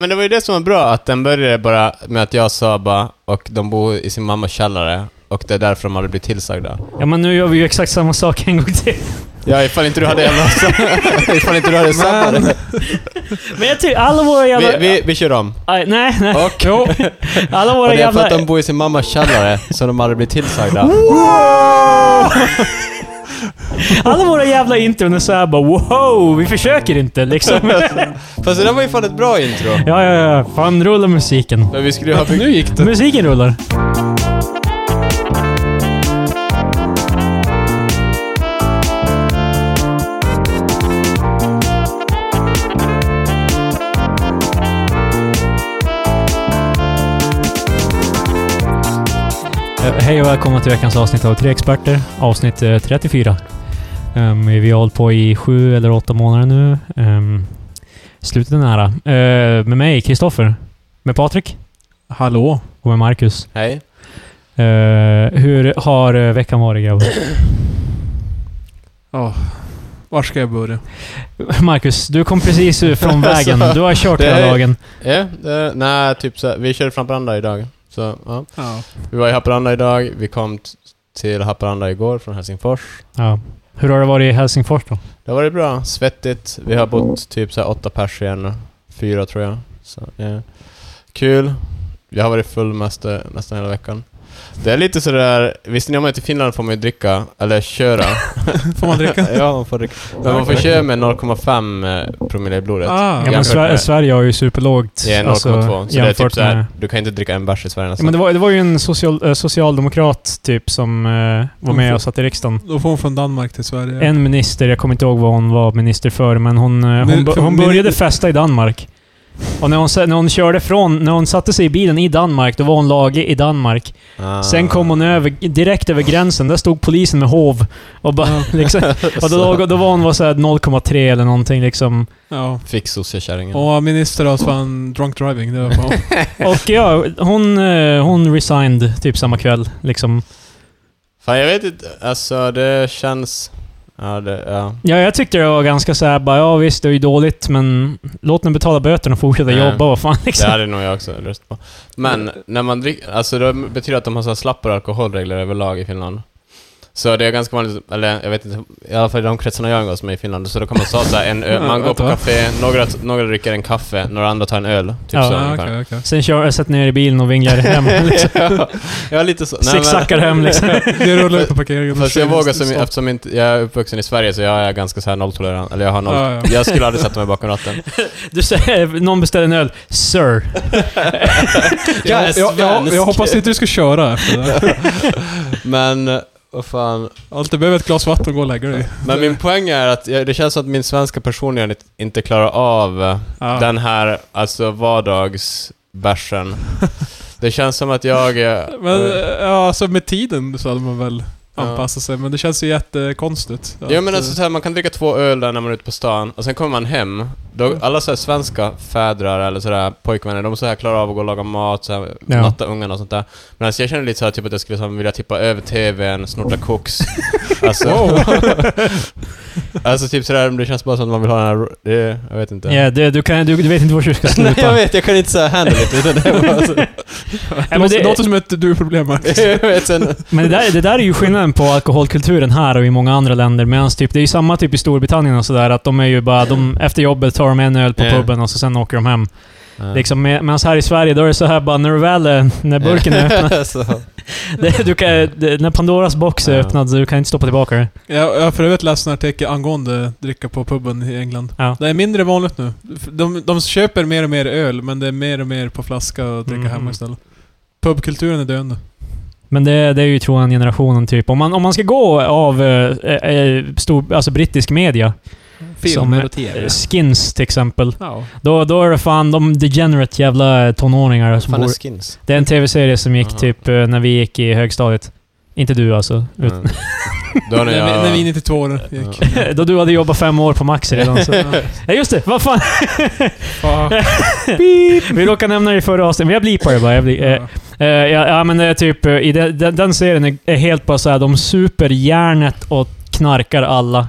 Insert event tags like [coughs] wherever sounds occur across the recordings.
Men det var ju det som var bra, att den började bara med att jag sa bara, och de bor i sin mammas källare, och det är därför de hade blivit tillsagda. Ja, men nu gör vi ju exakt samma sak en gång till. Ja, ifall inte du hade jävla... [laughs] ifall inte du hade sabbat det. Men jag tycker alla våra jävla... Vi, vi, vi kör om. Aj, nej, nej. Och, Jo. Alla och våra det är för jävla... att de bor i sin mammas källare, så de hade blivit tillsagda. [laughs] Alla våra jävla intron är såhär bara wow, vi försöker [laughs] inte liksom. Fast det där var ju fan ett bra intro. Ja, ja, ja. Fan, rulla musiken. Men vi skulle ju ha... Nu gick det. Musiken rullar. Eh, Hej och välkomna till veckans avsnitt av Tre Experter, avsnitt eh, 34. Ehm, vi har hållit på i sju eller åtta månader nu. Um, slutet är nära. Eh, med mig, Kristoffer. Med Patrik. Hallå? Och med Marcus. Hej. Eh, hur har eh, veckan varit [laughs] grabbar? Var ska jag börja? Marcus, du kom precis [laughs] ut från vägen. Du har kört Det hela är- dagen. Ja, det, nej, typ så här, vi körde fram varandra idag. Så, ja. Ja. Vi var i Haparanda idag, vi kom t- till Haparanda igår från Helsingfors. Ja. Hur har det varit i Helsingfors då? Det har varit bra, svettigt. Vi har bott typ så här åtta pers igen, fyra tror jag. Så, ja. Kul. Jag har varit full mest, eh, nästan hela veckan. Det är lite sådär, visst när man är till Finland får man ju dricka, eller [laughs] köra. Får man dricka? [laughs] ja, man får dricka. Men man får köra med 0,5 eh, promille i blodet. Ah. Ja, men Jämfört Sver- med- Sverige har ju superlågt. alltså, Det är 0,2. så det är typ jämfört såhär, med... du kan inte dricka en bärs i Sverige Ja, nästan. men det, var, det var ju en social, eh, socialdemokrat typ som eh, var Mm, med för- och satt i riksdagen. Då får hon från Danmark till Sverige. En minister, jag kommer inte ihåg vad hon var minister för, men hon, eh, hon, Men- bo- för- hon men- började festa i Danmark. Och när hon, se- när hon körde från, när hon satte sig i bilen i Danmark, då var hon laglig i Danmark. Ah. Sen kom [laughs] hon över, direkt över gränsen, där stod polisen med hov. Och, bara, Ah. [laughs] liksom, och då, låg- då var hon var så här 0,3 eller någonting liksom. Ja. Fick sossiekärringen. Och minister av fan drunk driving. Det [laughs] var fan. Och ja, hon, eh, hon resigned typ samma kväll. Liksom. Fan jag vet inte, alltså det känns... Ja, det, ja. Ja, jag tyckte det var ganska så här, bara ja visst, det är ju dåligt men låt henne betala böterna och fortsätta Nej. jobba. Vad fan det liksom. hade nog jag också röstat på. Men Mm. när man dricker, alltså det betyder att de har så här slappare alkoholregler överlag i Finland. Så det är ganska vanligt, eller jag vet inte, i alla fall i de kretsarna jag umgås med i Finland, så då kan man ta så här en [laughs] öl, man går på café, några, några dricker en kaffe, några andra tar en öl. Typ Ja, så Ja, ungefär. Ah, okej, okej. Sen kör, sätter ner i bilen och vinglar hem. Liksom. [laughs] ja, ja, lite så. Nej, men- Zigzaccar hem [laughs] liksom. Det rullar ut på parkeringen. Fast jag vågar, som, Stopp. eftersom inte, jag är uppvuxen i Sverige så jag är ganska så här nolltolerant, eller jag har noll... Ja, ja. Jag skulle aldrig sätta mig bakom ratten. [laughs] Du säger, någon beställer en öl. Sir. Jag är Jag, jag, jag, svensk. jag hoppas inte du ska köra efter det. Men, eh, vad fan. Allt du behöver är ett glas vatten och gå och lägga dig. Men min poäng är att jag, det känns som att min svenska personlighet inte klarar av eh, Ja. den här, alltså [laughs] vardagsbärsen. det känns som att jag... eh, Men eh, ja, alltså med tiden så hade man väl anpassat sig. Men det känns ju jättekonstigt. ja att, men alltså eh, så här, man kan dricka två öl där när man är ute på stan, och sen kommer man hem, Mm. då, alla så här svenska fädrar eller sådär pojkvänner, de så här klarar av att gå och laga mat, så här, Ja. natta ungarna och sånt där. Men alltså jag känner lite så här, typ att jag skulle så här, vilja tippa över TVn, snorta [laughs] koks. alltså, [laughs] alltså typ sådär, det känns bara som att man vill ha den här, ro- det, jag vet inte. [laughs] Ja, det, du, kan, du, du vet inte var du ska sluta. Nej, jag vet, jag kan inte säga handle it. Utan det var [laughs] alltså, Ja, eh, Det men låter, det- låter som ett [laughs] du-problem Marcus. jag vet, sen, Men det där, det där är ju skillnaden på alkoholkulturen här och i många andra länder. Medan typ, det är ju samma typ i Storbritannien och sådär, att de är ju bara... De, efter jobbet tar de en öl på Ja. puben och så sen åker de hem. Liksom, med, medan här i Sverige, då är det så här bara när du väl... är- [laughs] När burken är öppnad. så. det, du kan, det, när Pandoras box är Ja. öppnad, så du kan inte stoppa tillbaka det. Jag jag har för övrigt läst en artikel angående dricka på puben i England. Ja. Det är mindre vanligt nu. De, de köper mer och mer öl, men det är mer och mer på flaska och dricka Mhm. hemma istället. Pubkulturen är döende. Men det, det är ju troligen generationen typ. Om man, om man ska gå av eh, eh, stor, alltså brittisk media, Filmer Som, och eh, Skins till exempel, Ja. då, då är det fan de degenerate jävla tonåringar som Fan bor är skins? Det är en tv-serie som gick Aha. typ eh, när vi gick i högstadiet. Inte du alltså. Ut- Mm. Då när När, vi, när vi jag... 92 år gick. [laughs] Då du hade jobbat fem år på [laughs] Max redan. Så. Ja just det, vad fan. [laughs] Fuck. vi råkade nämna det i förra avsnittet, men jag blipar det bara. Jag blir, eh, Ja. eh, ja, ja men det är typ, eh, i den, den, den serien är- är helt bara såhär, de super järnet och knarkar alla.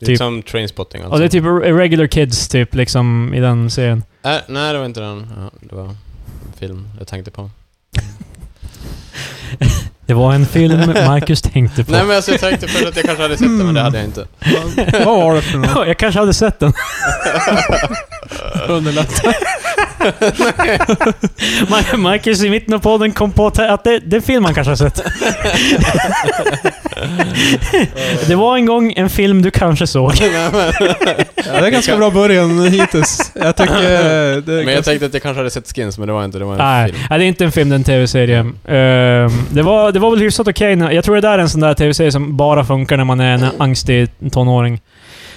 Det är [laughs] typ- som trainspotting alltså. Och det är typ regular kids typ liksom i den serien. Äh, nej, det var inte den. Ja, det var en film jag tänkte på. Det var en film Marcus tänkte på. Nej men alltså, jag tänkte först att jag kanske hade sett den, men det hade jag inte. Vad- Vad var det för något? [laughs] Ja, jag kanske hade sett den. Underlättar. Mar- Marcus i mitten av podden kom på te- att det, det är en film han kanske har [laughs] sett. det var en gång en film du kanske såg. Ja, det är ganska bra början hittills. Jag tycker... eh, Det är Men jag ganska... tänkte att jag kanske hade sett Skins, men det var inte. Det var en Nej, film. nej, det är inte en film, det är en tv-serie. Ehm, det, var, det var väl hyfsat okej. när- jag tror det där är en sån där tv-serie som bara funkar när man är en angstig tonåring.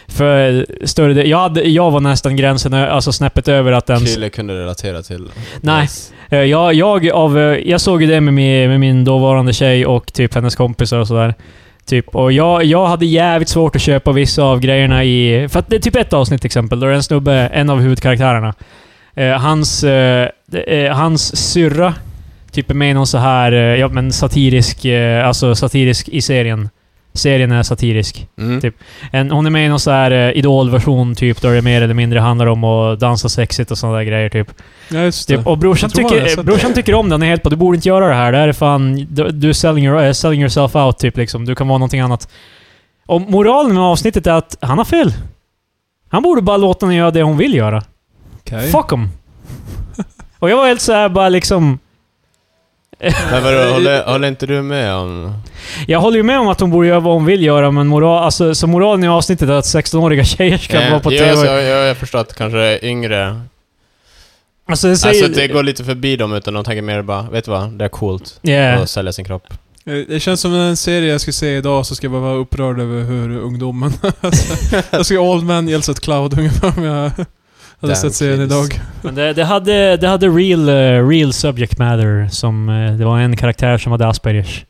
För större del, jag, hade, jag var nästan gränsen, ö- alltså snäppet över att ens... Kille kunde relatera till. Nej. Yes. Eh, Jag, jag, av, eh, jag såg ju det med min, med min dåvarande tjej och typ hennes kompisar och sådär. Typ. Och jag, jag hade jävligt svårt att köpa vissa av grejerna i... För att det är typ ett avsnitt till exempel, då är det en snubbe, en av huvudkaraktärerna. Eh, hans, eh, det- eh, hans syrra typ är med i någon så här, eh, ja men satirisk, eh, alltså satirisk i serien. Serien är satirisk. Mm. Typ. En, hon är med i någon så här eh, idolversion typ, där det mer eller mindre handlar om att dansa sexigt och sådana där grejer typ. Ja, just det. Typ, och brorsan Jag tror jag har tycker, sett brorsan tycker om den. Han är helt på du borde inte göra det här. Det här är fan... Du, du är selling, your, eh, selling yourself out, typ. Liksom. Du kan vara någonting annat. Och moralen med avsnittet är att han har fel. Han borde bara låta henne göra det hon vill göra. Okej. Fuck em. och jag var helt så här bara liksom... Men vadå, håller, håller inte du med om... Jag håller ju med om att hon borde göra vad hon vill göra, men moral, alltså, så moralen i avsnittet är att 16-åriga tjejer ska Eh, vara på ja, TV. alltså, jag, jag, jag förstår att kanske det är yngre... Alltså, det säger... Alltså att det går lite förbi dem, utan de tänker mer bara, vet du vad? Det är coolt Yeah. att sälja sin kropp. Eh, Det känns som en serie jag skulle se idag så ska jag bara vara upprörd över hur ungdomen... [laughs] Alltså, jag skulle Old Man Yells at Cloud ungefär om jag hade Damn sett serien kids. idag. Men det, det hade, det hade real, eh, real subject matter, som... eh, det var en karaktär som hade Aspergers.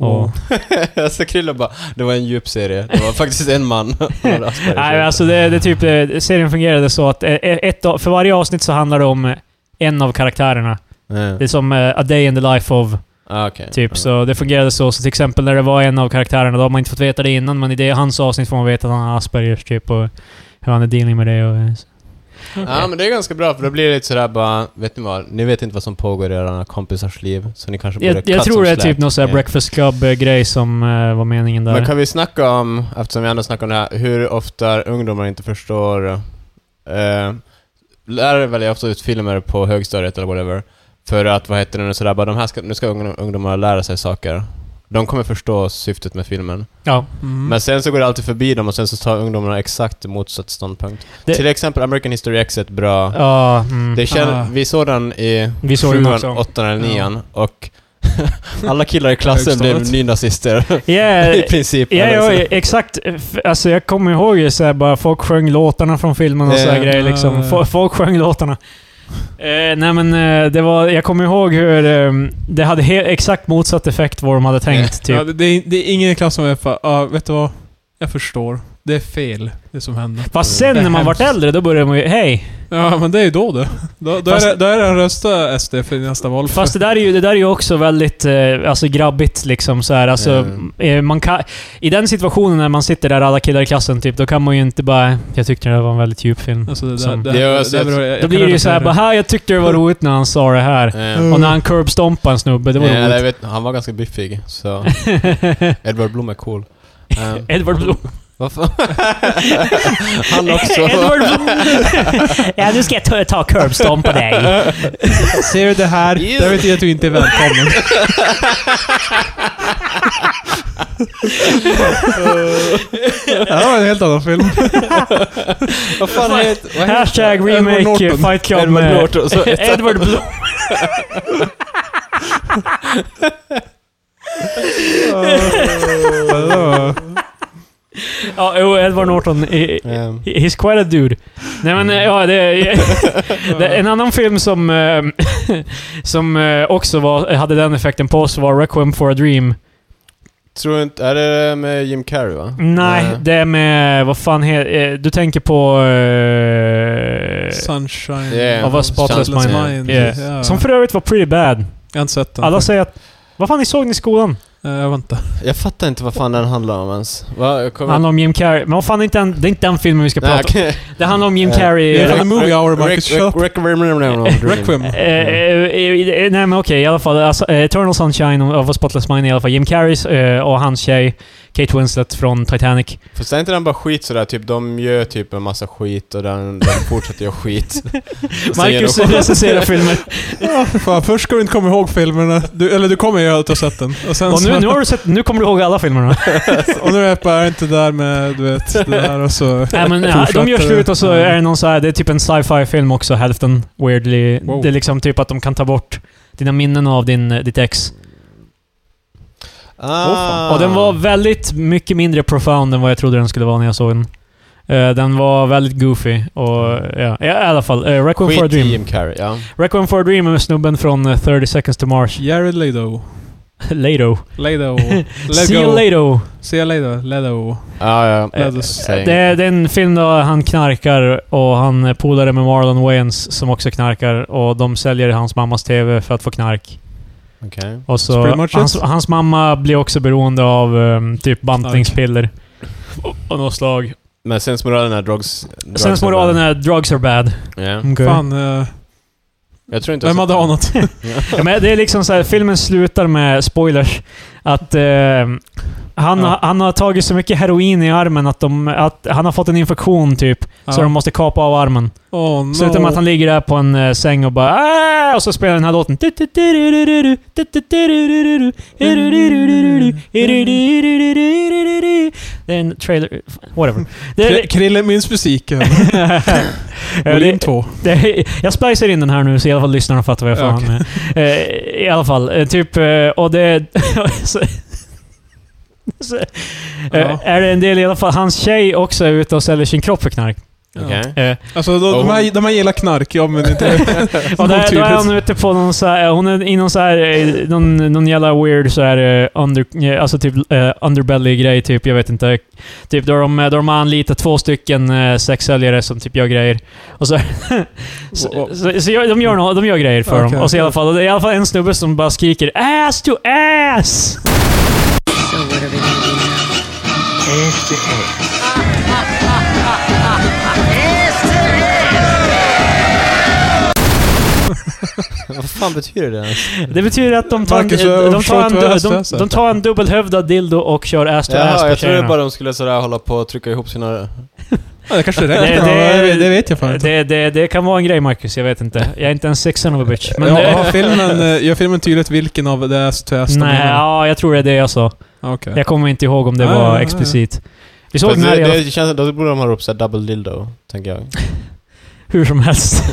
Och, [laughs] alltså Krille bara, det var en djup serie. Det var faktiskt en man. [laughs] Han hade Aspergers. Nej, men alltså det, det är typ, eh, serien fungerade så att eh, ett, av- för varje avsnitt så handlar det om eh, en av karaktärerna. Eh. Det är som eh, A Day in the Life of, Ah, okej. typ. Ja. Så det fungerade så. Så till exempel när det var en av karaktärerna, då har man inte fått veta det innan, men i det hans avsnitt får man veta att han har Aspergers, typ, och hur han är dealing med det och... eh, så. Ja, men det är ganska bra, för då blir det lite sådär bara, vet ni vad? Ni vet inte vad som pågår i era kompisars liv, så ni kanske borde Jag, jag cut tror some det är typ slack. någon sån här Eh. Breakfast Club-grej som eh, var meningen där. Men kan vi snacka om, eftersom vi ändå snackar om det här, hur ofta ungdomar inte förstår... Eh, lärare väljer ofta ut filmer på högstadiet eller whatever. För att, vad heter det nu, sådär bara de här ska, nu ska ung- ungdomar lära sig saker. De kommer förstå syftet med filmen. Ja. Mm. Men sen så går det alltid förbi dem och sen så tar ungdomarna exakt motsatt ståndpunkt. Det- Till exempel American History X är ett bra... Ja. Mm. Det känner, Ah. Vi såg den i Vi såg den sjuan, också. åttan eller nian och [laughs] alla killar i klassen blev [laughs] Högstadiet. nynazister. I Yeah, princip. Eh, Ja, eller ja, så. ja, exakt. F- Alltså, jag kommer ihåg ju så här, bara folk sjöng låtarna från filmen och så här Eh, grejer. Liksom. eh. Fo- Folk sjöng låtarna. Eh, nej men eh, det var, jag kommer ihåg hur eh, det hade he- exakt motsatt effekt vad de hade tänkt. Typ. Ja, det, det, är, det är ingen i klassen som är för, ja, vet du vad? Jag förstår. Det är fel, det som hände. Fast sen Det är när man hemskt. vart äldre, då började man ju hej. Ja, men det är ju då det. Då, då, Fast- är, det, då är det en rösta SD för nästa val. Fast det där är ju, det där är ju också väldigt eh, alltså, grabbigt liksom. Så här. Alltså, Mm. eh, man kan, I den situationen när man sitter där alla killar i klassen, typ, då kan man ju inte bara... Jag tyckte det där var en väldigt djup film. Alltså det där... Som- Det, Det är det, alltså där ett- beror- jag- jag Då kan blir det ju så relatera. här, bara, här, jag tyckte det var roligt när han sa det här. Eh, Och när han curbstompade en snubbe, det var Ja, eller jag roligt. vet, han var ganska biffig, [laughs] så... Edward Blom är cool. Um, Edward Blom. varför? [laughs] han också. [laughs] [laughs] Edward Blom. ja, nu ska jag ta, ta curbstomp på dig. Ser du det här? Ew. Där vet jag att du inte är [laughs] välkommen. det här var en helt annan film. [laughs] vad fan heter... vad heter- Hashtag remake eh, Norton. Fight Club Edward med Norton, så heter han. [laughs] Edward Blom. Ja, det var- Ja, jo, Edward Norton. i- Ehm, He's quite a dude. Nej men eh, ja, det, [laughs] det, en annan film som, eh, [laughs] som eh, också var, hade den effekten på oss var Requiem for a Dream. tror inte... Är det med Jim Carrey, va? Eh, Nej, det är med, vad fan heter, du tänker på... eh, Sunshine... Yeah. Av A Spotless Spotless Mind. Mind. Yeah. Ja. Som för övrigt var pretty bad. Jag har inte sett den. Alla säger att... Vad fan, ni såg den i skolan? Eh, Jag vet inte. Jag fattar inte vad fan den handlar om ens. Va? Jag Det handlar om Jim Carrey. Men vad fan, det är inte den, det är inte den filmen vi ska Nej, prata om. okej. Det handlar om Jim Eh, Carrey. Det är Eh, fan en movie hour, Marcus. Rec- Köp. rec- rec- [laughs] Requiem. eh, eh, eh, nej men okej, i alla fall. Alltså, eh, Eternal Sunshine of a Spotless Mind i alla fall. Jim Carreys eh, och hans tjej, Kate Winslet från Titanic. Fast är inte den bara skit sådär, typ de gör typ en massa skit och den, den fortsätter göra [laughs] skit. Och sen gör de Marcus eh, skit. recenserar filmer. [laughs] Ja, för [laughs] fan, först ska du inte komma ihåg filmerna. Du, eller du kommer ju att ha sett den. Och, sen Och nu, så, nu, [laughs] har du sett, nu kommer du ihåg alla filmerna. och nu är jag bara inte där med, du vet, det där och så... [laughs] Nej, men, ja, de gör fortsätter Mm. slut och så det. är det någon så här, det är typ en sci-fi film också, hälften weirdly. Wow. Det är liksom typ att de kan ta bort dina minnen av din, eh, ditt ex. Ah. Och den var väldigt mycket mindre profound än vad jag trodde den skulle vara när jag såg den. Eh, den var väldigt goofy och ja, i alla fall. Uh, Requiem for a Skit i Dream. Jim Carrey, ja. Requiem for a Dream är snubben från eh, 30 seconds to Mars. [laughs] Jared Leto. Leto. [laughs] Leto. See you Lego. Leto. See you later. Leto. Ja, ja. Eh, Eh, säg Det är, inget. det är en film där han knarkar och han är polare med Marlon Wayans som också knarkar och de säljer hans mammas TV för att få knark. Okej. Och That's så pretty much hans, it. hans mamma blir också beroende av ehm, typ bantningspiller. Och, och något slag. Men sensmoralen är drugs... drugs Sen moralen är drugs are bad. Ja. Fan, eh, Jag tror inte... vem hade anat? Ja, men det är liksom så här, filmen slutar med spoilers. Att eh, han, Ja. han har tagit så mycket heroin i armen att, de, att han har fått en infektion typ. Så Ja. de måste kapa av armen. Åh, no. Slutar med att han ligger där på en eh, säng och bara "Ah!" Och så spelar den här låten. Det är en trailer... Whatever. Det Kri- är, Krille minns musiken. [laughs] Ja, det, Volym 2. det, är- jag splicer in den här nu så i alla fall lyssnarna fattar vad jag Ja, fan okej. med. Eh, I alla fall, eh, typ... eh, Och det... [laughs] så, så, eh, Ja. Är det en del i alla fall. Hans tjej också är ute och säljer sin kropp för knark. [laughs] Okej. Eh, Alltså, de, de, här, de här gillar knark, ja men inte... [laughs] Ja, [laughs] där, Nog då är tydligt. hon ute på någon så här, hon är i någon så här, eh, någon, någon jävla weird så här, eh, under, eh, alltså typ eh, underbelly-grej typ, jag vet inte. Typ då de, då de har anlitat två stycken eh, sexsäljare som typ gör grejer. Och så, [laughs] så, Wow. så, så gör- de, gör, nå- de gör grejer för Okej. dem. Och så i alla fall, och det är i alla fall en snubbe som bara skriker ass to ass! So what are we gonna do now? Vad fan betyder det? Det betyder att de tar, en, Marcus, jag de, de förstår tar, en, inte vad ass to de, ass de, är. de tar en dubbelhövdad dildo och kör ass to ass Jaha, på jag trodde tjejerna. bara de skulle sådär hålla på och trycka ihop sina... Ja, det kanske Det- räcker. Det, det- det, det vet jag fan inte. Det, det, det kan vara en grej Marcus, jag vet inte. Jag är inte en sexan of a bitch. Men ja, har filmen, eh, gör filmen tydligt vilken av det är ass to ass de nej, menar? ja, jag tror det är det jag sa. Ah, Okej. Ah, Jag kommer inte ihåg om det Ja, ja, var ja. explicit. Vi såg Fast den här Det, i alla- det känns... Då borde de ha upp såhär double dildo, tänker jag. hur som helst.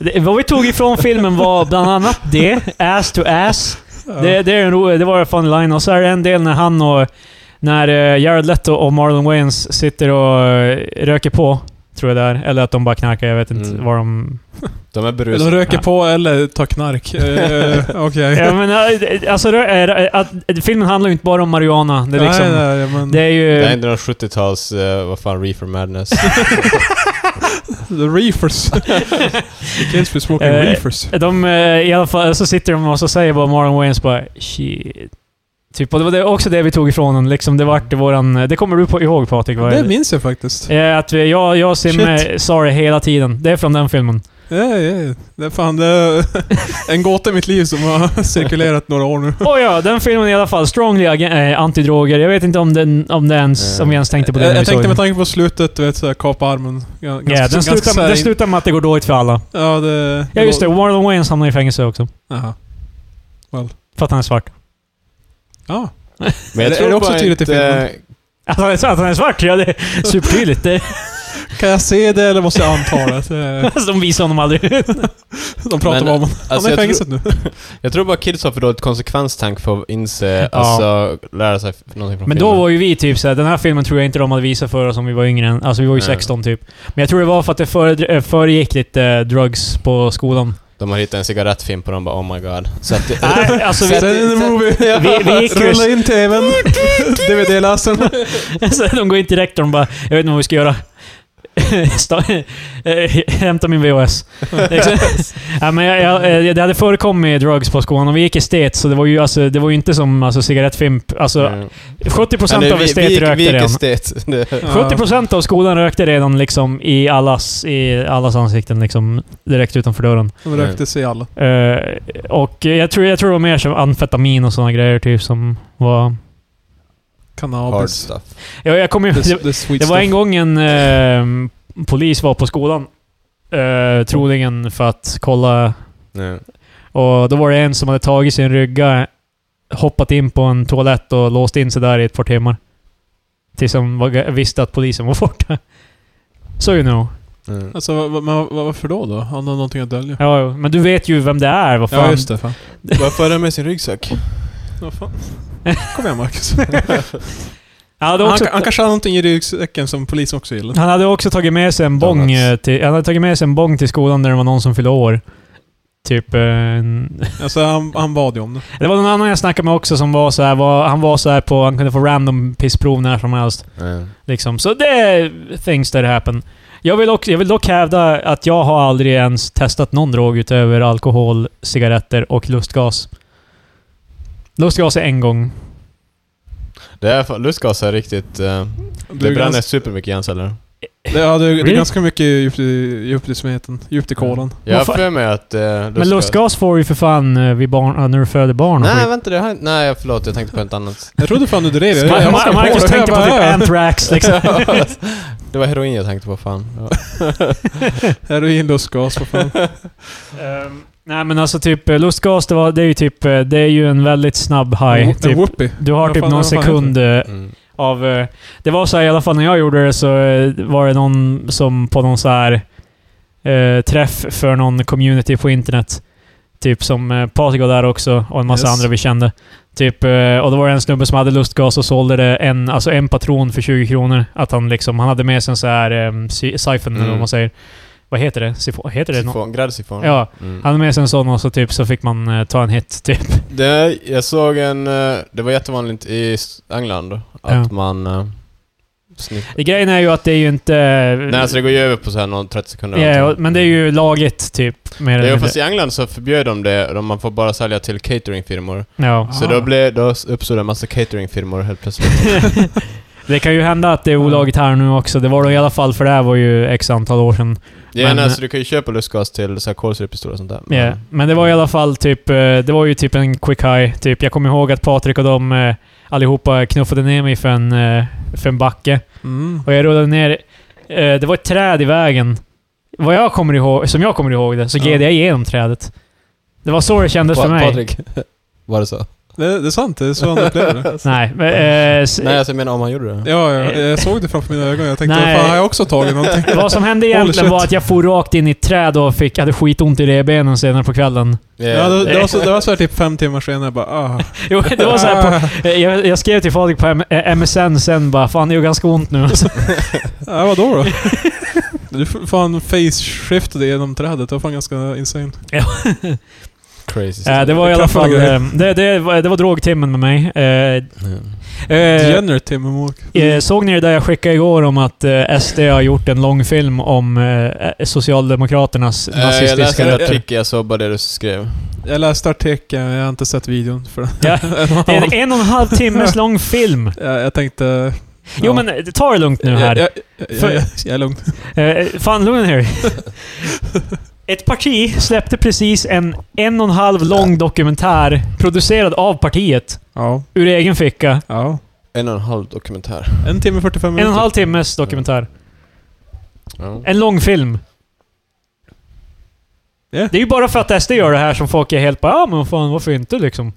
Det, vad vi tog ifrån filmen var bland annat det, ass to ass. Ja. Det, det, är en ro, det var en funny line. Och så är det en del när han och... När eh, Jared Leto och Marlon Wayans sitter och eh, röker på, tror jag det är. Eller att de bara knarkar, jag vet inte Mm. vad de De är De berusade. röker på eller tar knark. Eh, [laughs] Okej. Ja, men, äh, eh, alltså, det är- att, äh, filmen handlar ju inte bara om Mariana. Det är, liksom, Nej, nej, men Det är ju... Det är inte någon 70-tals, eh, vad fan, reefer [laughs] madness. The [laughs] reefers. The kids be smoking Eh, reefers. De, eh, I alla fall så sitter de och så säger bara Marlon Wayans bara shit. Typ, och det var det, också det vi tog ifrån honom. Liksom, det vart våran... Det kommer du på, ihåg Patrik? Vad är Det det? minns jag faktiskt. Eh, Att vi, jag, jag och Simme Shit. sa det hela tiden. Det är från den filmen. Ja, ja, ja. Det är fan det är [laughs] en gåta i mitt liv som har [laughs] cirkulerat några år nu. Oh ja, den filmen i alla fall. Strongly ag- eh, antidroger. Jag vet inte om, den, om, det ens, Eh, om vi ens tänkte på det jag när vi jag såg tänkte den. med tanke på slutet, du vet såhär kapa armen. Gans- Ja, den ganska så slutar, här den in- slutar med att det går dåligt för alla. Ja, det... Ja, just det. Marlon Wayans hamnar i fängelse också. Jaha. För att han är svart. Ja. Men Är jag det- tror är det också bara tydligt i inte- filmen? Att han är, att han är svart, ja det är supertydligt. Det, Kan jag se det eller måste jag anta det? det? alltså, de visar [laughs] honom aldrig. Men, De pratar bara om honom. Han Alltså, är i jag, tror, fängelset [laughs] nu. jag tror bara kids har för dåligt konsekvenstank för att inse, Ja. alltså lära sig f- någonting från Men filmen. då var ju vi typ såhär, den här filmen tror jag inte de hade visat för oss om vi var yngre än, Alltså vi var ju Nej. 16 typ. Men jag tror det var för att det före, eh, föregick lite eh, drugs på skolan. [laughs] De har hittat en cigarettfimp och de bara oh my god. Så att det, Nej, alltså vi, Sätt in [laughs] en movie. vi- vi gick ju- Rulla in TVn. [laughs] [laughs] DVD-läsaren. så de går in till rektorn och bara, jag vet inte vad vi ska göra. [laughs] Sta- eh, Hämta [laughs] min VHS. [laughs] ja, men jag, jag, eh, det hade förekommit drugs på skolan och vi gick estet, så det var ju, alltså, det var ju inte som alltså, cigarettfimp. Alltså, Mm. 70% Eller av vi- estet vi- rökte vi- redan. [laughs] estet. Det- Ja. 70% av skolan rökte redan liksom i allas, i allas ansikten liksom, direkt utanför dörren. De rökte sig alla. Eh, och jag tror, jag tror det var mer som amfetamin och sådana grejer typ som var... Hard Cannabis. stuff. Jag, [laughs] jag kommer ju... Det, Det, det, sweet det var en stuff. gång en eh, polis var på skolan. Uh, troligen för att kolla. Ja. Och då var det en som hade tagit sin rygga, hoppat in på en toalett och låst in sig där i ett par timmar. Tills han var, visste att polisen var borta. [laughs] Så you know. Mm. Alltså, vad- vad- men vad- varför då då? Han har någonting att dölja. Ja, jo. men du vet ju vem det är, vad fan. Ja, just det. Fan. Varför är den med sin ryggsäck? [laughs] Ja, fan. Kom igen Marcus. Han hade han, också, ka- han kanske har någonting i ryggsäcken som polisen också gillar. han hade också tagit med sig en bong Donuts. eh, till, han hade tagit med sig en bong till skolan när det var någon som fyllde år. Typ eh, en, [laughs] Alltså, han, han bad ju om det. Det var någon annan jag snackade med också som var så här, var, han var så här på, han kunde få random pissprov när som helst. Ja. Liksom. Så det är things that happen. Jag vill, också, jag vill dock hävda att jag har aldrig ens testat någon drog utöver alkohol, cigaretter och lustgas. Lustgas är en gång. Det är fan, lustgas är riktigt... eh, det är bränner ganska- supermycket hjärnceller. det, ja, det, det Really? Mm. är ganska mycket djupt i, djupt i smeten. Djupt i kolan. Jag har Vad fan? för mig att... eh, Men lustgas får ju för fan eh, vid barn, eh, när du föder barn och Nej, skit. vänta. Det här, nej, förlåt. Jag tänkte på något [laughs] annat. Jag trodde fan du drev. Jag- Ma- jag- Ma- jag- Marcus jag- tänkte på jag- typ jag- anthrax [laughs] liksom. [laughs] det var heroin jag tänkte på, fan. [laughs] Ja. Heroin, lustgas, vad fan. Ehm, nej men alltså typ eh, lustgas, det, var, det är ju typ, eh, det är ju en väldigt snabb high. En Typ, whoopie. du har Vad typ fan- någon vad fan sekund eh, Mm. av... eh, Det var så här, i alla fall när jag gjorde det så eh, var det någon som på någon så här eh, träff för någon community på internet. Typ som eh, Patrik var där också och en massa Yes. andra vi kände. Typ, eh, och då var det en snubbe som hade lustgas och sålde det en, alltså en patron för 20 kronor. Att han liksom, han hade med sig en så här um, siphon eller vad Mm. man säger. Vad heter det? Sifo, heter det? nå- Sifon, Gräddsifon. Ja, Mm. han hade med sig en sån och så typ så fick man eh, ta en hit typ. [laughs] Det, jag såg en... eh, Det var jättevanligt i S- England att Ja. man... eh, sniff- Grejen är ju att det är ju inte... eh, Nej, alltså det går ju över på så här någon 30 sekunder. eller Ja, någonting. men det är ju laget typ. Mer Det eller är, mindre. fast i England så förbjöd de det, de- man får bara sälja till cateringfirmor. Ja. Så Ah. då, blev, då uppstod en massa cateringfirmor helt plötsligt. [laughs] det kan ju hända att det är olagligt här nu också. Det var det i alla fall, för det här var ju x antal år sedan. Ja, Men- eh, men, alltså, du kan ju köpa lustgas till så här kolsyrepistoler och sånt där. Ja, Men det var i alla fall typ... eh, Det var ju typ en quick high. Typ. Jag kommer ihåg att Patrik och de eh, allihopa knuffade ner mig för en, eh, för en backe. Mm. Och jag rullade ner... eh, Det var ett träd i vägen. Vad jag kommer ihåg, som jag kommer ihåg det, så Ja. gled jag igenom trädet. Det var så det kändes för Pa- mig. Patrik, [laughs] var det så? Det, det är sant, det är så han upplever det. Nej, men, eh, s- Nej, alltså, jag menar om han gjorde det. Ja, ja, jag såg det framför mina ögon. Jag tänkte, Nej. Nej. fan har jag också tagit någonting? [laughs] Vad som hände egentligen shit. var att jag for rakt in i ett träd och fick, hade skitont i revbenen senare på kvällen. [laughs] Ja, det, det, var så, det var så här typ fem timmar senare, jag bara ah. Jo, det var så här på, eh, jag, jag skrev till Fadrik på M- eh, MSN sen bara “Fan, det gör ganska ont nu”. [laughs] Alltså, Ja, vadå då? Du f- fan face-shiftade genom trädet, det var fan ganska insane. Crazy. eh, det var i alla Kraftfulla fall... grejer. eh, Det, det, var- det var drogtimmen med mig. Eh, eh, Degenerate Tim och Mark. eh, Såg ni det där jag skickade igår om att eh, SD har gjort en långfilm om eh, Socialdemokraternas Eh, jag nazistiska läste en rötter? artikel, jag såg bara det du skrev. Jag läste artikeln, jag har inte sett videon för den. [laughs] Ja, Eh. det är en en och en halv timmes lång film. jag, jag tänkte... Jo men eh, ta det lugnt nu här. Jag, jag, jag, jag, jag är lugn. Eh, fan, lugn här. Ett parti släppte precis en en och en halv lång dokumentär producerad av partiet Ja, ur egen ficka. ja. En och en halv dokumentär. En timme och En 45 och minuter. en halv timmes dokumentär. Ja. En lång film. Ja. Det är ju bara för att SD gör det här som folk är helt bara ja men fan varför inte liksom.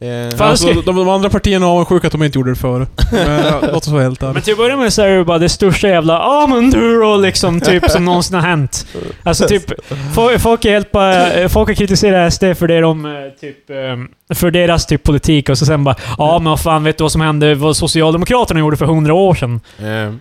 Eh, Fan, Alltså, ska- de, de andra partierna är avundsjuka att de inte gjorde det före. Men, ja, låt oss vara helt Men ärliga. till att börja med så är det ju bara det största jävla ja men du då liksom typ som någonsin har hänt. Alltså typ, fo- folk är helt bara, eh, folk har kritiserat SD för det de, eh, typ, eh, för deras typ politik "Ah, och så sen bara ja men vad fan vet du vad som hände, vad Socialdemokraterna gjorde för hundra år sedan? eh,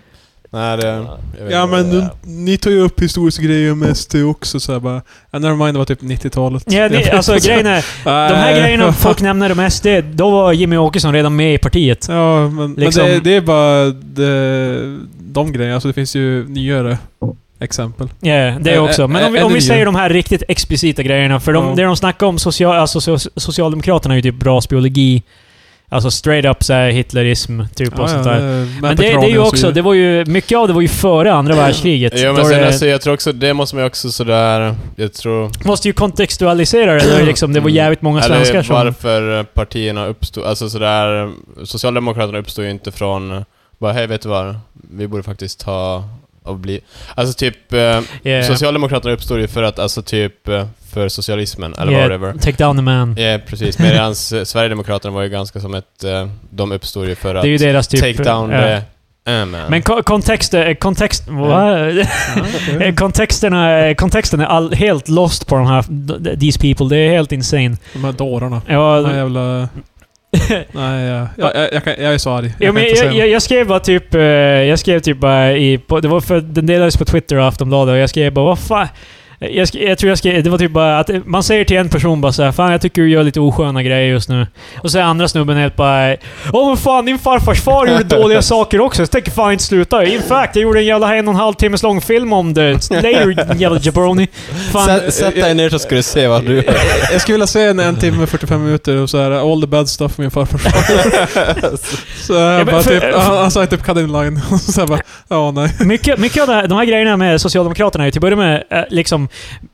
Nej, det... jag vet Ja Eh, inte vad men det nu, är. ni tar ju upp historiska grejer med SD också så här bara... Ja, Nevermind det var typ 90-talet. Ja, det, alltså grejen är, de här Nej. [laughs] grejerna folk nämner om SD, då var Jimmy Åkesson redan med i partiet. Ja, men, Liksom- men det, det är bara de, de grejerna. Alltså det finns ju nyare exempel. Ja, det Ä- också. Men om vi, ä- om vi ännu säger mer. de här riktigt explicita grejerna, för de, Ja. det de snackar om, social, alltså, so- Socialdemokraterna är ju typ rasbiologi, alltså straight up så här, hitlerism, typ och sånt eh, där. Men det, det är ju också, det var ju, mycket av det var ju före andra världskriget. Ja, då men sen, det- alltså, jag tror också, det måste man ju också sådär... Jag tror... måste ju kontextualisera det. Det, är liksom, det var Mm. jävligt många svenskar Eller som... varför partierna uppstod, alltså sådär... Socialdemokraterna uppstod ju inte från... Bara, hej vet du vad? Vi borde faktiskt ta och bli... Alltså typ... Eh, Yeah. Socialdemokraterna uppstod ju för att, alltså typ... eh, För socialismen, eller yeah, whatever. Take down the man. Ja, precis. Medan eh, Sverigedemokraterna var ju ganska som ett... eh, De uppstod ju för att Det är ju deras typ... take down ja. the... eh, man. Men ko- kontext... eh, kontext va? [laughs] Eh, Kontexterna, eh, kontexten är all, helt lost på de här... d- These people. Det är helt insane. De [laughs] här dårarna. Ja, De [laughs] här jävla... Nej, ja. jag, jag, jag, kan, jag är så arg. Ja, Jag men kan inte säga jag, jag, något. jag skrev bara typ... eh, Jag skrev typ bara i... På, det var för den delades på Twitter och Aftonbladet och jag skrev bara vad fan... Jag, sk- jag tror jag skrev... Det var typ bara att eh, man säger till en person bara så här, Fan jag tycker du gör lite osköna grejer just nu. Och så är andra snubben helt bara... Åh men fan din farfars far gjorde dåliga saker också. så Jag tänker fan inte sluta. In fact, jag gjorde en jävla en och en halv timmes lång film om det. Later din jävla jabroni. Fan. Sätt- Sätt dig ner så ska du se vad du gör. jag skulle vilja se en, en timme och 45 minuter och så här all the bad stuff [laughs] min farfar sa. Så jag Ja, men bara för- typ, han han sa typ cut in line. [laughs] Och så jag bara, ja nej. Mycket, mycket av det här, de här grejerna med Socialdemokraterna är ju till att börja med, eh, liksom,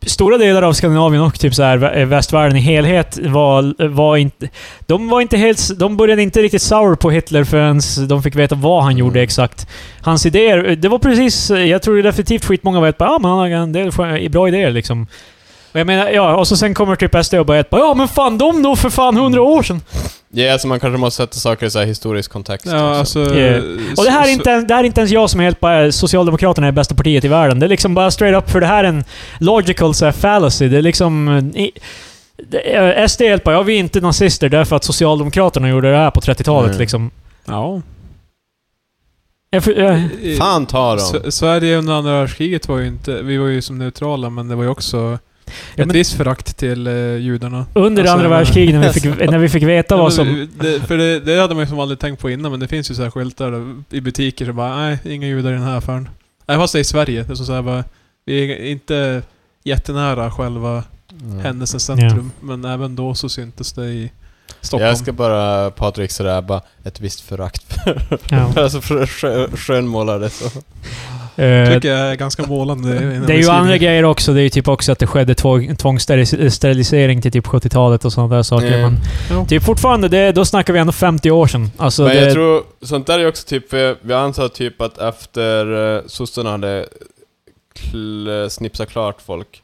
stora delar av Skandinavien och typ så här, vä- eh, västvärlden i helhet var, var inte... De var inte helt... De började inte riktigt sour på Hitler förrän de fick veta vad han gjorde Mm. exakt. Hans idéer, eh, det var precis... eh, Jag tror definitivt skitmånga vet bara ah, men han har en del skö- bra idéer liksom. Och jag menar, ja, och så sen kommer typ SD och bara bara ja men fan de då för fan hundra år sedan. Ja, alltså man kanske måste sätta saker i så här historisk kontext. Ja, också. alltså, Yeah. Och det här, är så- inte, ens- det här är inte ens jag som är helt bara Socialdemokraterna är bästa partiet i världen. Det är liksom bara straight up, för det här är en logical så här, fallacy. Det är liksom... eh, I, det eh, är- SD är helt bara, ja vi är inte nazister därför att Socialdemokraterna gjorde det här på 30-talet Mm. Nej. liksom. Ja. Jag, för, jag, Fan ta dem! S- Sverige under andra världskriget var ju inte... Vi var ju som neutrala, men det var ju också Ja, ett men- visst förakt till eh, judarna. under andra Alltså, jag menar- Alltså, världskriget när vi [laughs] fick, när vi fick veta Ja, vad men som... Det, för det, det hade man ju som aldrig tänkt på innan, men det finns ju så här skyltar där i butiker som bara nej, inga judar i den här affären. Nej, fast det är i Sverige. Det är som så här bara, vi är inte jättenära själva Mm. händelsens centrum, men även då så syntes det i Stockholm. Jag ska bara, Patrik, sådär bara ett visst förakt för... Ja. [laughs] alltså för skö, skönmålade så. Eh, tycker jag är ganska målande. i den Det är ju beskrivningen. andra grejer också. Det är ju typ också att det skedde tvång- tvångssterilisering till typ 70-talet och sådana där saker. Mm. Men Ja. typ fortfarande, det, då snackar vi ändå 50 år sedan. Alltså, Men det, jag tror, sånt där är också typ, för jag antar typ att efter eh, sossarna hade kl- snipsat klart folk,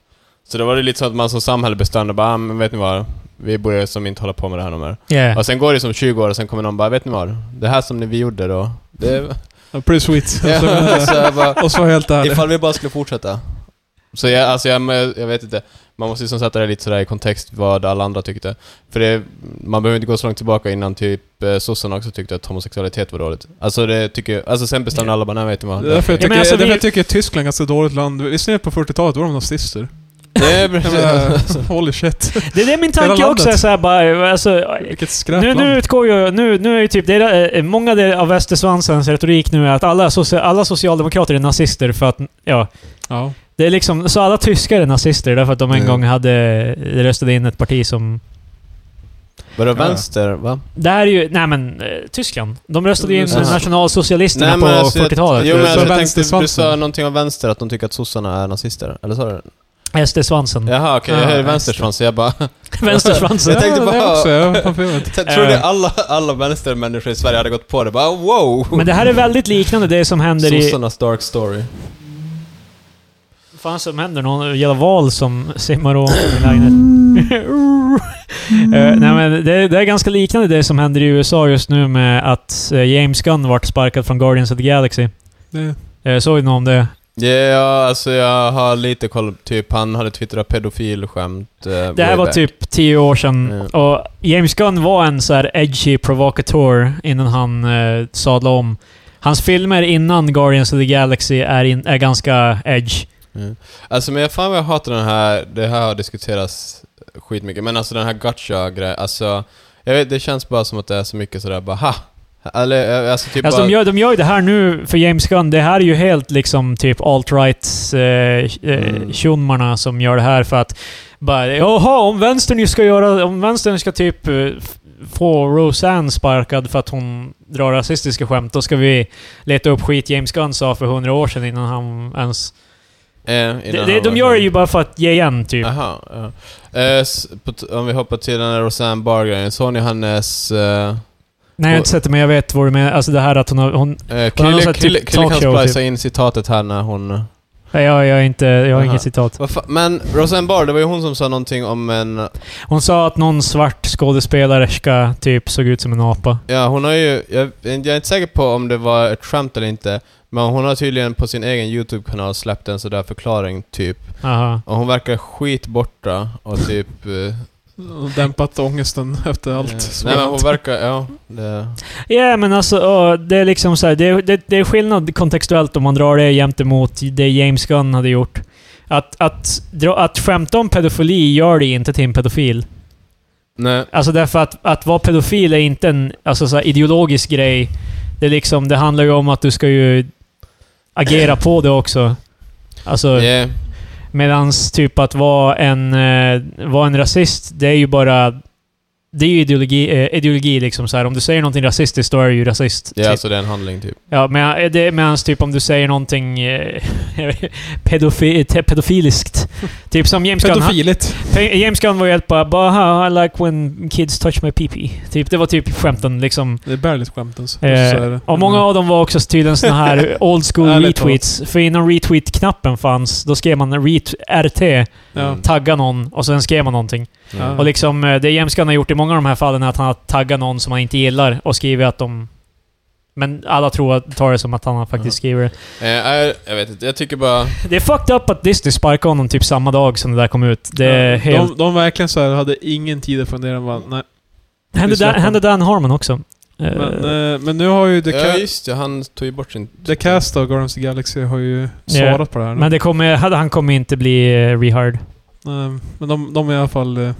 så då var det lite så att man som samhälle bestämde bara, ah, men vet ni vad? Vi borde som inte hålla på med det här något mer. yeah. Och sen går det som 20 år och sen kommer någon bara, vet ni vad? Det här som ni vi gjorde då, det... Ja, pretty sweet. [laughs] Alltså, eh, Ja, så Alltså, jag bara, Och så helt ärlig. Ifall vi bara skulle fortsätta. Så jag, alltså jag, jag vet inte. Man måste liksom sätta det lite sådär i kontext vad alla andra tyckte. För det, man behöver inte gå så långt tillbaka innan typ eh, sossarna också tyckte att homosexualitet var dåligt. Alltså det tycker jag, alltså sen bestämde Ja. alla bara nej vet du vad. Det är därför jag Ja, men tycker, alltså, därför vi- jag tycker Tyskland är ett ganska dåligt land. Visserligen på 40-talet var de nazister. Nej, Jag [laughs] menar, Holy shit. Det är det min tanke Hela också är landet. såhär bara... Alltså, Vilket nu, skräpland. nu utgår ju... Nu, nu är ju typ... Det är, eh, många del av västersvansens retorik nu är att alla, socia- alla socialdemokrater är nazister för att... Ja. Ja. Det är liksom... Så alla tyskar är nazister därför att de en Mm. gång hade röstade in ett parti som... Vadå Ja. vänster va? Det här är ju... Nej men... eh, Tyskland. De röstade in Ja. nationalsocialisterna på jag, jo, 40-talet. men Så alltså, jag tänkte, du vänstersvansen. sa någonting om vänster, att de tycker att sossarna är nazister. Eller sa du det? [laughs] SD-svansen. Jaha okej, Mm. Ja, jag hörde vänster. vänstersvans så jag bara... [laughs] Vänstersvansen. Jag tänkte ja, bara- Det också, ja, varför inte? jag trodde alla, alla vänstermänniskor i Sverige hade gått på det. Bara wow! Men det här är väldigt liknande det som händer i... Sossarnas dark story. Vad fan som händer? Någon jävla val som simmar om i lägenhet. Eh, nej men det, det är ganska liknande det som händer i USA just nu med att eh, James Gunn vart sparkad från Guardians of the Galaxy. Det, Uh, såg du något om det? Ja, alltså jag har lite koll. Typ han hade twittrat pedofilskämt. eh, Det way här var back. typ tio år sedan. Och James Gunn var en så här edgy provocateur innan han uh, eh, sadlade om. Hans filmer innan Guardians of the Galaxy är, in, är ganska edge. Alltså men jag fan vad jag hatar den här, det här har diskuterats skitmycket, men alltså den här gacha grejen alltså jag vet, det känns bara som att det är så mycket sådär bara ha! Eller eh, alltså typ alltså, bara, de, gör, de gör ju det här nu för James Gunn. Det här är ju helt liksom typ alt-rights eh, eh, Mm. tjommarna som gör det här för att bara jaha, om vänstern ju ska göra... Om vänstern ska typ eh, f- få Roseanne sparkad för att hon drar rasistiska skämt, då ska vi leta upp skit James Gunn sa för hundra år sedan innan han ens... eh, Det, innan det, han de var- gör det ju bara för att ge igen typ. Aha, ja. Eh, s- på t- om vi hoppar till den här Roseanne Barr-grejen, såg ni hennes... Eh, Nej, jag har inte sett det, men jag vet vad du menar. Alltså det här att hon har... Hon, eh, Hon har någon Krille sån här Krille- typ Krille kan talkshow, splica in citatet här när hon... jag, jag, är inte, jag har Aha. inget citat. Vad fa- men Roseanne Barr, det var ju hon som sa någonting om en... Hon sa att någon svart skådespelerska typ såg ut som en apa. Ja, hon har ju... Jag, jag är inte säker på om det var ett skämt eller inte, men hon har tydligen på sin egen YouTube-kanal släppt en sådär förklaring, typ. Aha. Och hon verkar skit borta och typ... eh, Och Dämpat ångesten efter eh, allt. som nej men hänt. hon verkar... Ja, det... Ja, men alltså ja, det är liksom så här, det, det, det är skillnad kontextuellt om man drar det jämt emot det James Gunn hade gjort. Att, att, dra- att skämta om pedofili gör dig inte till en pedofil. Nej. Alltså därför att, att vara pedofil är inte en alltså, så här, ideologisk grej. Det, är liksom, det handlar ju om att du ska ju agera på det också. Alltså, Yeah. Medans typ att vara en, eh, vara en rasist, det är ju bara... Det är ju ideologi, eh, ideologi liksom så här. Om du säger någonting rasistiskt, då är du ju rasist. Ja, typ. alltså det är en handling typ. Ja, men eh, det, medans typ om du säger någonting eh, [laughs] pedofi, te- pedofiliskt. typ som James Gunn. Han, Pedofiligt. Pe- James Gunn var ju helt bara bara I like when kids touch my pee-pee. Typ, det var typ skämten liksom. Det är bärligt skämt ens. Så är Eh, det. och många av dem var också tydligen såna [laughs] här old school Mm. Ärligt retweets. För innan retweet-knappen fanns, då skrev man ret- RT, Ja. Mm. tagga någon och sen skrev man någonting. Mm. Och liksom, eh, det James Gunn har gjort i många av de här fallen är att han har taggat någon som han inte gillar och skrivit att de... Men alla tror att, tar det som att han har faktiskt skriver det. Eh, jag, jag vet inte, jag tycker bara... Det är fucked up att Disney sparkade honom typ samma dag som det där kom ut. Det är Ja, helt... de, de verkligen så här hade ingen tid att fundera. Bara, nej. hände, vi Dan, släpper. hände Dan Harmon också? Eh, Men, eh, men nu har ju The, Ja Ca- just det, han tog ju bort sin... The Cast av Guardians of the Galaxy har ju Ja. svarat på det här. nu. men det kommer, han kommer inte bli eh, rehired. Nej, Eh, men de, de är i alla fall eh,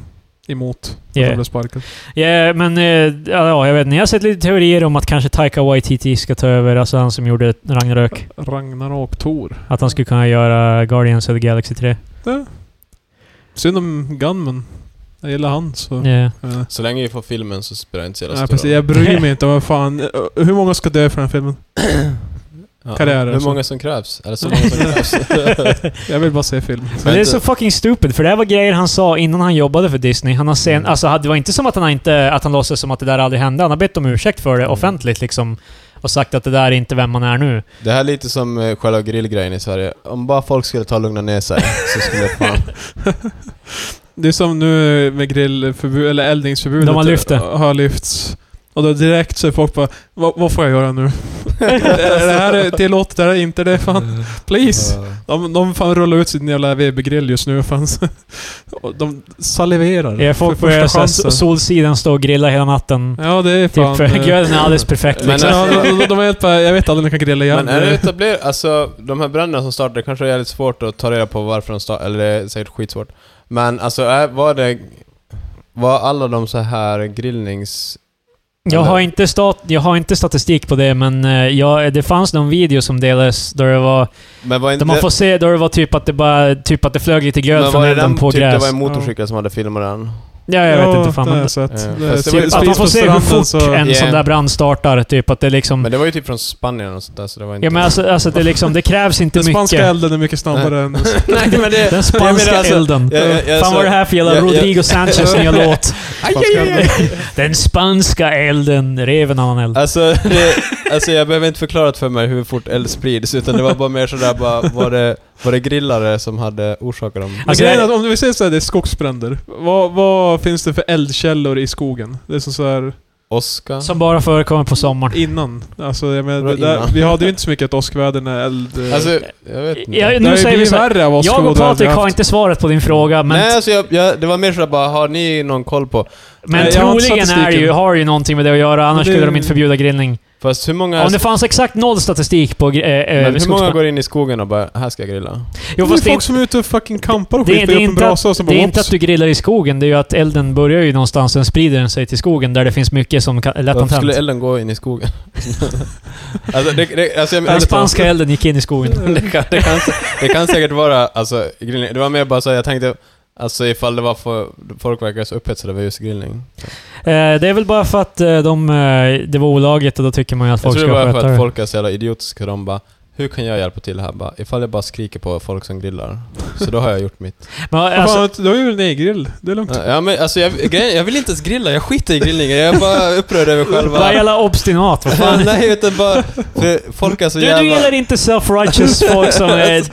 emot att Yeah. de blev sparkade. Ja, men eh, ja, jag vet inte. Jag har sett lite teorier om att kanske Taika Waititi ska ta över, alltså han som gjorde Ragnarök. Ragnarok Tor. Att han skulle kunna göra Guardians of the Galaxy 3. Synd om Gunman. Jag gillar han så... Ja. eh. Så länge vi får filmen så spelar det inte så jävla Nej, stor precis. roll. Jag [laughs] bryr mig inte om vad fan... eh, Hur många ska dö för den här filmen? Ja. karriärer, Hur alltså. många som krävs? Eller så många [laughs] som krävs. [laughs] [laughs] Jag vill bara se film. Men det är inte- så fucking stupid, för det här var grejer han sa innan han jobbade för Disney. Han har sen, Mm. alltså, det var inte som att han, inte, att han låtsades som att det där aldrig hände. Han har bett om ursäkt för det Mm. offentligt liksom. Och sagt att det där är inte vem man är nu. Det här är lite som eh, själva grillgrejen i Sverige. Om bara folk skulle ta och lugna ner [laughs] sig så skulle fan... Det är som nu med grillförbud, eller eldningsförbudet. De har lyft det. Har lyfts. Och då direkt så är folk bara, vad, vad får jag göra nu? [laughs] är det här är tillåtet? Det här är inte det fan. Please! De, de fan rullar ut sin jävla VB-grill just nu fan. [laughs] Och de saliverar. Mm. Ja, folk för börjar första så här, chansen. solsidan stå och grilla hela natten. Ja, det är Typ, fan... för eh, glöden är alldeles perfekt Men liksom. Liksom, alltså- ja, de, de, de är helt bara, jag vet aldrig när jag kan grilla igen. Men är det etablerat... Alltså, de här bränderna som startade kanske är jävligt svårt att ta reda på varför de startade, eller det är säkert skitsvårt. Men alltså, är, var det... Var alla de så här grillnings... Jag Eller- har, inte stat- jag har inte statistik på det, men eh, jag, det fanns någon video som delades där det var... Men var Där inte... man får se där det var typ att det bara... Typ att det flög lite gröd men från var det elden den, på typ, det gräs. Mm. var en motorcyklare som hade filmat den? Ja, jag vet Ja, inte fan. det har Men jag sett. Ja. Det är Fast det var ju- spis att man på får se hur stranden, fort så- en Yeah. sån där brand startar. Typ att det liksom... Men det var ju typ från Spanien och sånt där, så det var inte... ja men alltså, alltså det, liksom, det krävs inte Den spanska mycket. elden är mycket snabbare än... [laughs] Nej, men det... Den Jag spanska menar alltså- elden. jag- jag- jag fan vad sa- är det här för jävla jag- jag- Rodrigo Sanchez [laughs] nya låt? Spanska elden. Den spanska elden, reven av en eld. Alltså, det, alltså jag behöver inte förklara för mig hur fort eld sprids, utan det var bara mer sådär bara, var det, var det grillare som hade orsakat dem? Men Alltså, grejen är jag- att om vi säger såhär, det är skogsbränder. Vad, vad finns det för eldkällor i skogen? Det är som såhär Oskar? Som bara förekommer på sommaren. innan. Alltså jag menar, Vadå det där, innan? vi hade ju inte så mycket ett åskväder när eld... Alltså, jag vet inte. Ja, det nu har ju säger vi blivit så här. värre av Jag och åskväder vi Patrik har haft. inte svaret på din fråga, men Nej, alltså jag, jag, det var mer sådär bara, har ni någon koll på? Men Nej, jag har inte troligen är det ju, statistiken. har det ju någonting med det att göra, annars det- skulle de inte förbjuda grillning. För Fast hur många... Om det fanns exakt noll statistik på... gre- eh, eh, alltså- men hur många skogsbrand- går in i skogen och bara här ska jag grilla? Jo, det är fast det är folk som är ute och fucking campar och Det, skiter det, är upp en inte brasa och så att, bara det är inte att "Oops." du grillar i skogen, det är ju att elden börjar ju någonstans, sen sprider den sig till skogen där det finns mycket som kan, är lätt Varför antänt. skulle elden gå in i [laughs] skogen? alltså, det, det, alltså, jag, [laughs] Den spanska elden gick in i skogen. det, kan, det, kan, det kan säkert vara, alltså, grillning. Det var mer bara så jag tänkte, alltså ifall det var för, folk verkar så upphetsade över just grillning. Eh, det är väl bara för att eh, de, eh, det var olagligt och då tycker man ju att Jag folk tror ska det var sköta för att det. folk är så jävla idiotiska, de bara hur kan jag hjälpa till här? Bara, ifall jag bara skriker på folk som grillar, så då har jag gjort [laughs] mitt. Men, Vad alltså, fan, du har ju en egen grill. Det är lugnt. Ja, men, alltså, jag, grejen, jag vill inte ens grilla, jag skiter i grillningen, jag är bara upprörd över Vad själva... jävla obstinat, vad [laughs] fan. Nej, utan bara... För folk är så Du, jävla... du gillar inte self-righteous folk som är...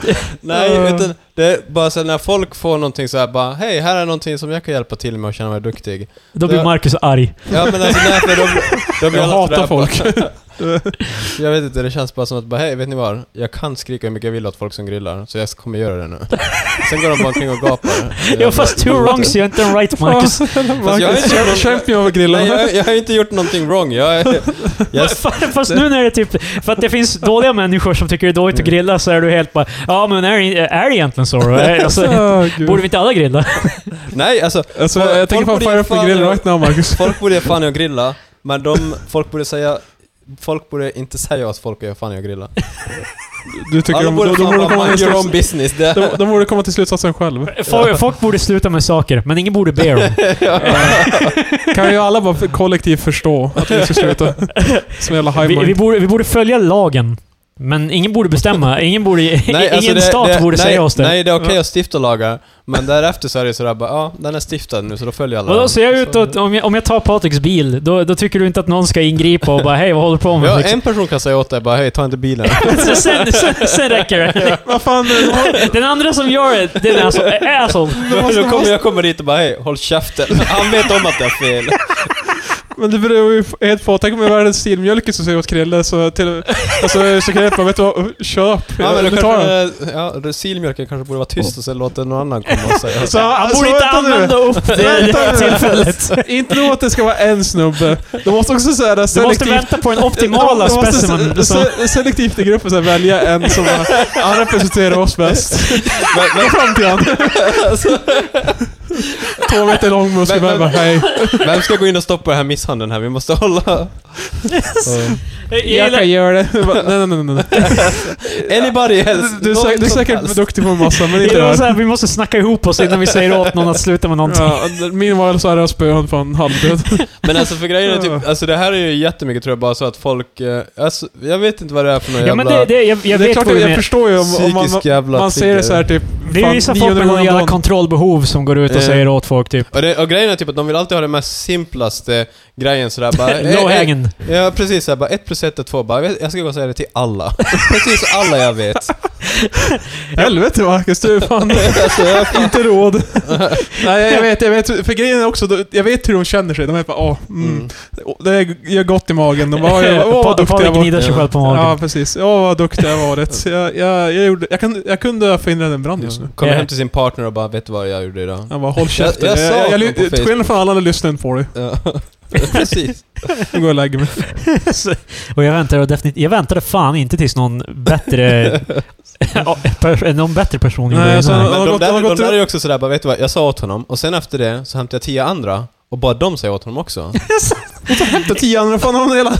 Nej, Eh. utan det är bara så här, när folk får någonting så här bara Hej, här är någonting som jag kan hjälpa till med och känna mig duktig. Då blir Marcus arg. Ja men alltså därför de... de blir Jag alla hatar sådär bara- folk. [laughs] jag vet inte, det känns bara som att bara hej, vet ni vad? Jag kan skrika hur mycket jag vill åt folk som grillar, så jag kommer göra det nu. Sen går de bara omkring och [laughs] gapar. Ja, fast two wrongs gör inte en right, Marcus. Fast jag är inte Champ- någon- Champion av Nej, grillarna. jag, [laughs] jag har inte gjort någonting wrong. Jag, är- [laughs] jag, Fa- Fast nu när det är typ... För att det finns dåliga människor som tycker det är dåligt att grilla så är du helt bara Ja men är, det- är det egentligen så då? Är- Alltså, Åh, gud. borde vi inte alla grilla? nej, alltså Alltså, Folk- jag tänker folk fan borde ju fire up the fan- grill right now Marcus. folk borde ge fan i att grilla, men de, folk borde säga Folk borde inte säga åt folk att jag fan i att grilla. Du tycker Alla de, borde de, de, fan borde bara komma mind till your own sluts- business. Det, [laughs] de, de borde komma till slutsatsen själv. Folk, folk borde sluta med saker, men ingen borde be dem. Kan ju alla bara kollektivt förstå att vi [laughs] ska sluta. Som jävla high Vi, vi, mind. borde, vi borde följa lagen. Men ingen borde bestämma. Ingen, borde, ingen alltså det- stat det- borde nej, säga oss det. Nej, det är okej att stifta lagar, men därefter så är det sådär bara, ja, den är stiftad nu så då följer alla Vadå, den. så jag ut att om jag, om jag tar Patriks bil, då, då tycker du inte att någon ska ingripa och bara hej, vad håller du på med? Ja, liksom. en person kan säga åt dig bara, hej, ta inte bilen. [laughs] [laughs] sen, sen, sen, sen räcker det. Vad fan, de har- Den andra som gör det, den är alltså är asshole. då kommer jag kommer dit och bara, hej, håll käften. Han vet om att det är [laughs] fel. men det beror ju helt på. Tänk om jag var den stilmjölkis som säger åt Krille så till... Alltså, så kan jag bara, vet du vad? Köp! Ja, men du då tar den. kanske, ja, då silmjölken kanske borde vara tyst och Oh. sen låta någon annan komma och [laughs] säga. Så, Han alltså, borde inte vänta nu. använda upp det, Vänta det nu. tillfället. Inte nog att det ska vara en snubbe. De måste också säga det Du måste selektivt. vänta på den De optimala måste specimen. se- som- se- Selektivt i gruppen så här, välja en som eh, han representerar oss bäst. Men, Gå fram till han. [laughs] Alltså- Två meter lång muskelman Men- bara men- hej. men, vem ska gå in och stoppa den här misshandeln här? Vi måste [laughs] hålla... Jag Jag gillar- kan göra det. [laughs] Jag bara, Nej, nej, nej, nej. nej. Anybody else? Du, är säkert- du är säkert duktig på en massa, men inte Det det var här. så här, vi måste snacka ihop oss innan vi säger åt någon att sluta med någonting. Ja, min var så här jag spöade honom [laughs] fan halvdöd. Men alltså för grejen är typ, alltså det här är ju jättemycket tror jag bara så att folk, eh, alltså, jag vet inte vad det är för någon Ja, jävla... men det, det, jag, jag det är vet klart, vad du jag menar. förstår ju om, om man, Psykisk jävla man ser det så här typ Det är fan, ju vissa folk 900 med någon gånger om jävla dagen. kontrollbehov som går ut och Eh. säger åt folk typ Och, det, och grejen är typ att de vill alltid ha den mest simplaste grejen sådär bara... low eh, eh, hanging. Ja precis, såhär, bara ett plus ett är två, bara, jag vet- jag ska gå och säga det till alla. [laughs] precis alla jag vet. Helvete Marcus, du är [laughs] fan inte råd. Nej, jag vet, jag vet. För grejen är också, jag vet hur de känner sig. De är bara åh, mm. Mm. det gör gott i magen. De bara, [laughs] åh, åh vad duktig jag var. gnider sig Ja. själv på Ja, magen. precis. Åh, vad duktig jag [laughs] varit. Jag, jag, jag, gjorde, jag, kan, jag kunde ha förhindrat en brand just nu. Kommer Eh. hem till sin partner och bara, vet du vad jag gjorde idag? Han bara, håll käften. jag Jag, sa jag, jag, åt honom på till skillnad från alla andra lyssnar inte på dig. Ja. [laughs] precis. Nu går jag och lägger mig. Så- [laughs] och jag väntade, definitivt, jag väntade fan inte tills någon [laughs] bättre, [laughs] Ja, pers- någon bättre person gjorde Nej, det. alltså, innan. Ja, Men har de gått- har där, de gått där ut- är ju också sådär bara, vet du vad, jag sa åt honom och sen efter det så hämtade jag tio andra och bara de säger åt honom också. Hämta tio andra, fan [laughs] har hela...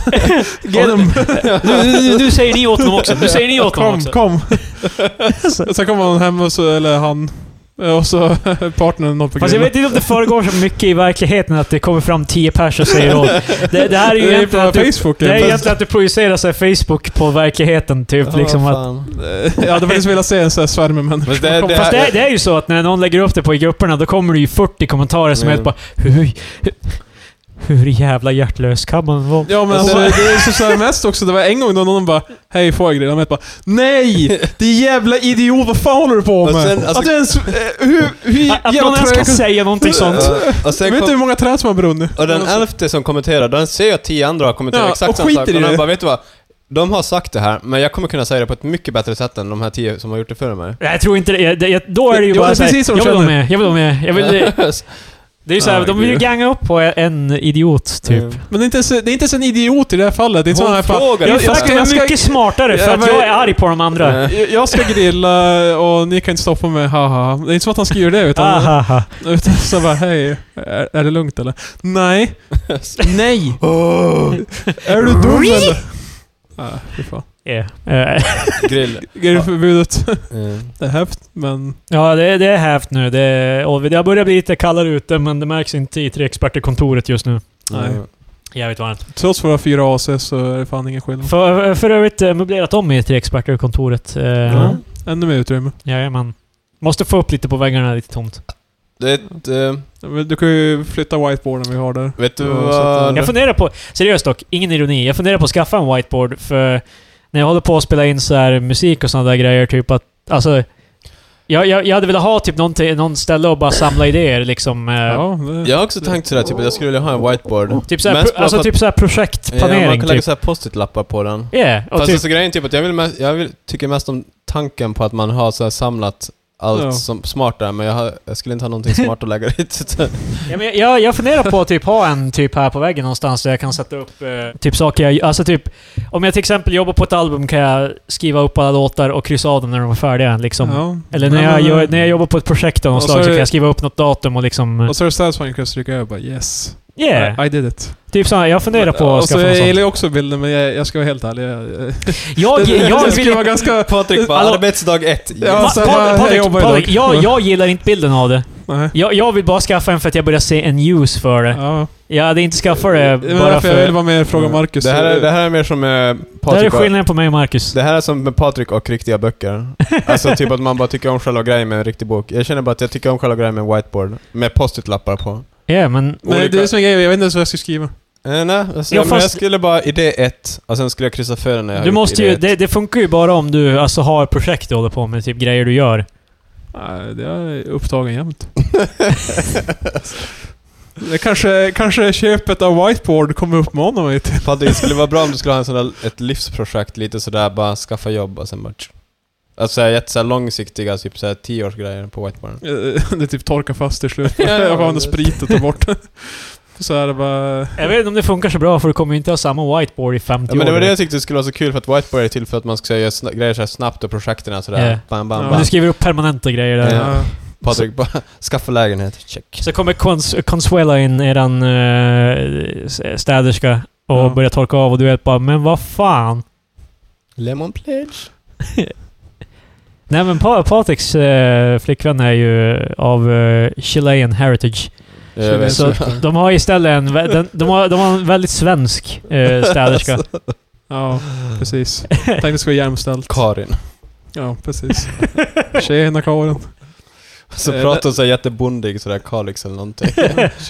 Get em. Nu, nu, nu säger ni åt honom också. Nu säger ni åt honom Kom, också. kom. Och Sen kommer hon hem och så, eller han, eh, och så [laughs] partnern någon på Fast jag grillen. vet inte om det föregår så mycket i verkligheten att det kommer fram tio personer och säger åt. Det, det här är ju Det är egentligen på att du, Facebook, det är fast- egentligen att du projicerar så här Facebook på verkligheten. Typ, Ja, liksom att, fan. [laughs] Jag hade faktiskt velat se en sån här svärm med människor. Fast det, Fast det, [laughs] är- det är ju så att när någon lägger upp det på i grupperna, då kommer det ju 40 kommentarer som är helt Mm. bara hur, hur, hur jävla hjärtlös kan man vara? Ja men alltså, Och det är så så här mest också, det var en gång då någon bara Hej får jag grilla? Och jag bara Nej! Det är jävla idiot, vad fan håller du på Och med? sen, alltså- att du ens... eh, Hur, hur Att, att någon jävla ens trög... ska säga någonting sånt. Och, sen Vet du hur kom, många träd som har brunnit? och den elfte som kommenterar, den ser jag att tio andra har kommenterat alltså- Ja, exakt och samma skiter sak. i Och det. de bara, vet du vad? De har sagt det här, men jag kommer kunna säga det på ett mycket bättre sätt än de här tio som har gjort det före mig. Nej, Jag tror inte det. Jag, det jag, då är det ju Jo, det bara är såhär, precis som jag vill vara [laughs] känner. med, jag vill vara med. Jag vill, Det är ju såhär, Ja, de vill ju gud. ganga upp på en idiot, typ. Mm. Men det är, inte så, det är inte så en idiot i det här fallet. Det är inte Hon sån här fan- frågar jag, inte. jag, Fast ska, de jag, är ska, mycket smartare, för Ja, att men- jag är arg på de andra. Eh, jag- jag ska grilla och ni kan inte stoppa mig, haha. Det är inte som att han skriver det utan... Ahaha. utan så bara, hej. Är, är det lugnt eller? Nej. [laughs] Nej! Är du dum eller? Nej, fy fan. Yeah. Eh, [laughs] Grill. Grillförbudet. Eh, Mm. Det är häft, men... Ja, det, det är hävt nu. Det, är- och det har börjat bli lite kallare ute, men det märks inte i Treexperter-kontoret just nu. Nej. Mm. Jävligt varmt. Trots våra fyra AC så är det fan ingen skillnad. För, för övrigt eh, möblerat om i Treexperter-kontoret. Eh, Ja. Ännu mer utrymme. Jajamän. Måste få upp lite på väggarna, lite tomt. Det är ett, eh, Ja, men Du kan ju flytta whiteboarden vi har där. Vet du Ja, vad... så Jag funderar på, seriöst dock, ingen ironi. Jag funderar på att skaffa en whiteboard för när jag håller på att spela in så här musik och sådana där grejer, typ att... Alltså... Jag, jag, jag hade velat ha typ någonting, någon ställe och bara samla idéer liksom. eh, Ja, det, Jag har också tänkt sådär, typ att jag skulle vilja ha en whiteboard. Typ såhär, Mest pro, bara alltså för typ såhär projektplanering. ja, man kan lägga typ. såhär post-it-lappar på den. Yeah, och Fast typ, alltså, grejen är typ att jag, vill mest, jag vill, tycker mest om tanken på att man har såhär samlat allt Ja. som smart där, men jag, har, jag skulle inte ha någonting smart att lägga dit. ja, men jag, jag funderar på att typ ha en typ här på väggen någonstans där jag kan sätta upp eh, typ saker jag... Alltså typ, om jag till exempel jobbar på ett album kan jag skriva upp alla låtar och kryssa av dem när de är färdiga liksom. ja. Eller när, Ja, jag, men- gör, när jag jobbar på ett projekt av något Och så slag är så det- kan jag skriva upp något datum och liksom... eh, Och så är det satisfying att stryka över bara yes. Yeah! I, I did it. Typ såhär, jag funderar på att Och så skaffa något jag sånt. gillar ju också bilden men jag, jag ska vara helt ärlig. Jag, [laughs] jag, Jag, jag det skulle vill... [laughs] vara ganska... Patrik bara, Hallå. arbetsdag ett. Ja, Pa- så Patrik, jag- jag Patrik, jobbar Patrik, idag. jag, jag gillar inte bilden av det. Nej. Jag, jag vill bara skaffa en för att jag börjar se en use för det. Ja. Jag hade inte skaffat det Det var bara därför jag för... ville vara med och fråga Marcus. Mm. Det här, är, det här är mer som med Det här är Patrik och, skillnaden på mig och Marcus. Det här är som med Patrik och riktiga böcker. Alltså typ att man bara tycker om själva grejen med en riktig bok. Jag känner bara att jag tycker om själva grejen med en whiteboard. Med post-it-lappar på. Ja, men... Nej, det är som en grej, jag vet inte ens vad jag ska skriva. Eh, nej, alltså, Ja, men fast- jag skulle bara idé ett, och sen skulle jag kryssa för den när jag har Du gjort måste idé ju, ett. det, det funkar ju bara om du alltså, har ett projekt du håller på med, typ grejer du gör. Nej, det är [laughs] upptagen jämt. det kanske, kanske köpet av whiteboard kommer uppmana mig till. [laughs] Patrik, det skulle vara bra om du skulle ha en sån där, ett livsprojekt, lite sådär bara skaffa jobb och sen bara... tsch. Alltså såhär, jätte såhär långsiktiga, typ såhär tioårsgrejer på whiteboarden. Eh, det typ torkar fast till slut. Ja, [laughs] jag får det- använda sprit och ta bort [laughs] det. Så är det bara... Jag vet inte om det funkar så bra, för du kommer ju inte ha samma whiteboard i 50 Ja, men det år. var det jag tyckte skulle vara så kul för att whiteboard är till för att man ska göra sna- grejer såhär snabbt och projekten är sådär Ja. bam, bam, Ja. Men bam. du skriver upp permanenta grejer där. Ja. Patrik bara, [laughs] skaffa lägenhet, check. Så kommer Cons Consuela in, eran uh, städerska, och Ja. börjar torka av och du vet bara “Men vad fan?” Lemon pledge? Nej men pa Patriks eh, flickvän är ju av eh, Chilean heritage. Jag vet. Så de har istället en, vä- den, de har, de har en väldigt svensk eh, [laughs] städerska. Ja, precis. Tänkte det skulle vara [laughs] jämställt. Karin. Ja, precis. [laughs] Tjena Karin. Så Eh, pratar hon såhär jättebondig sådär Kalix eller [laughs] någonting.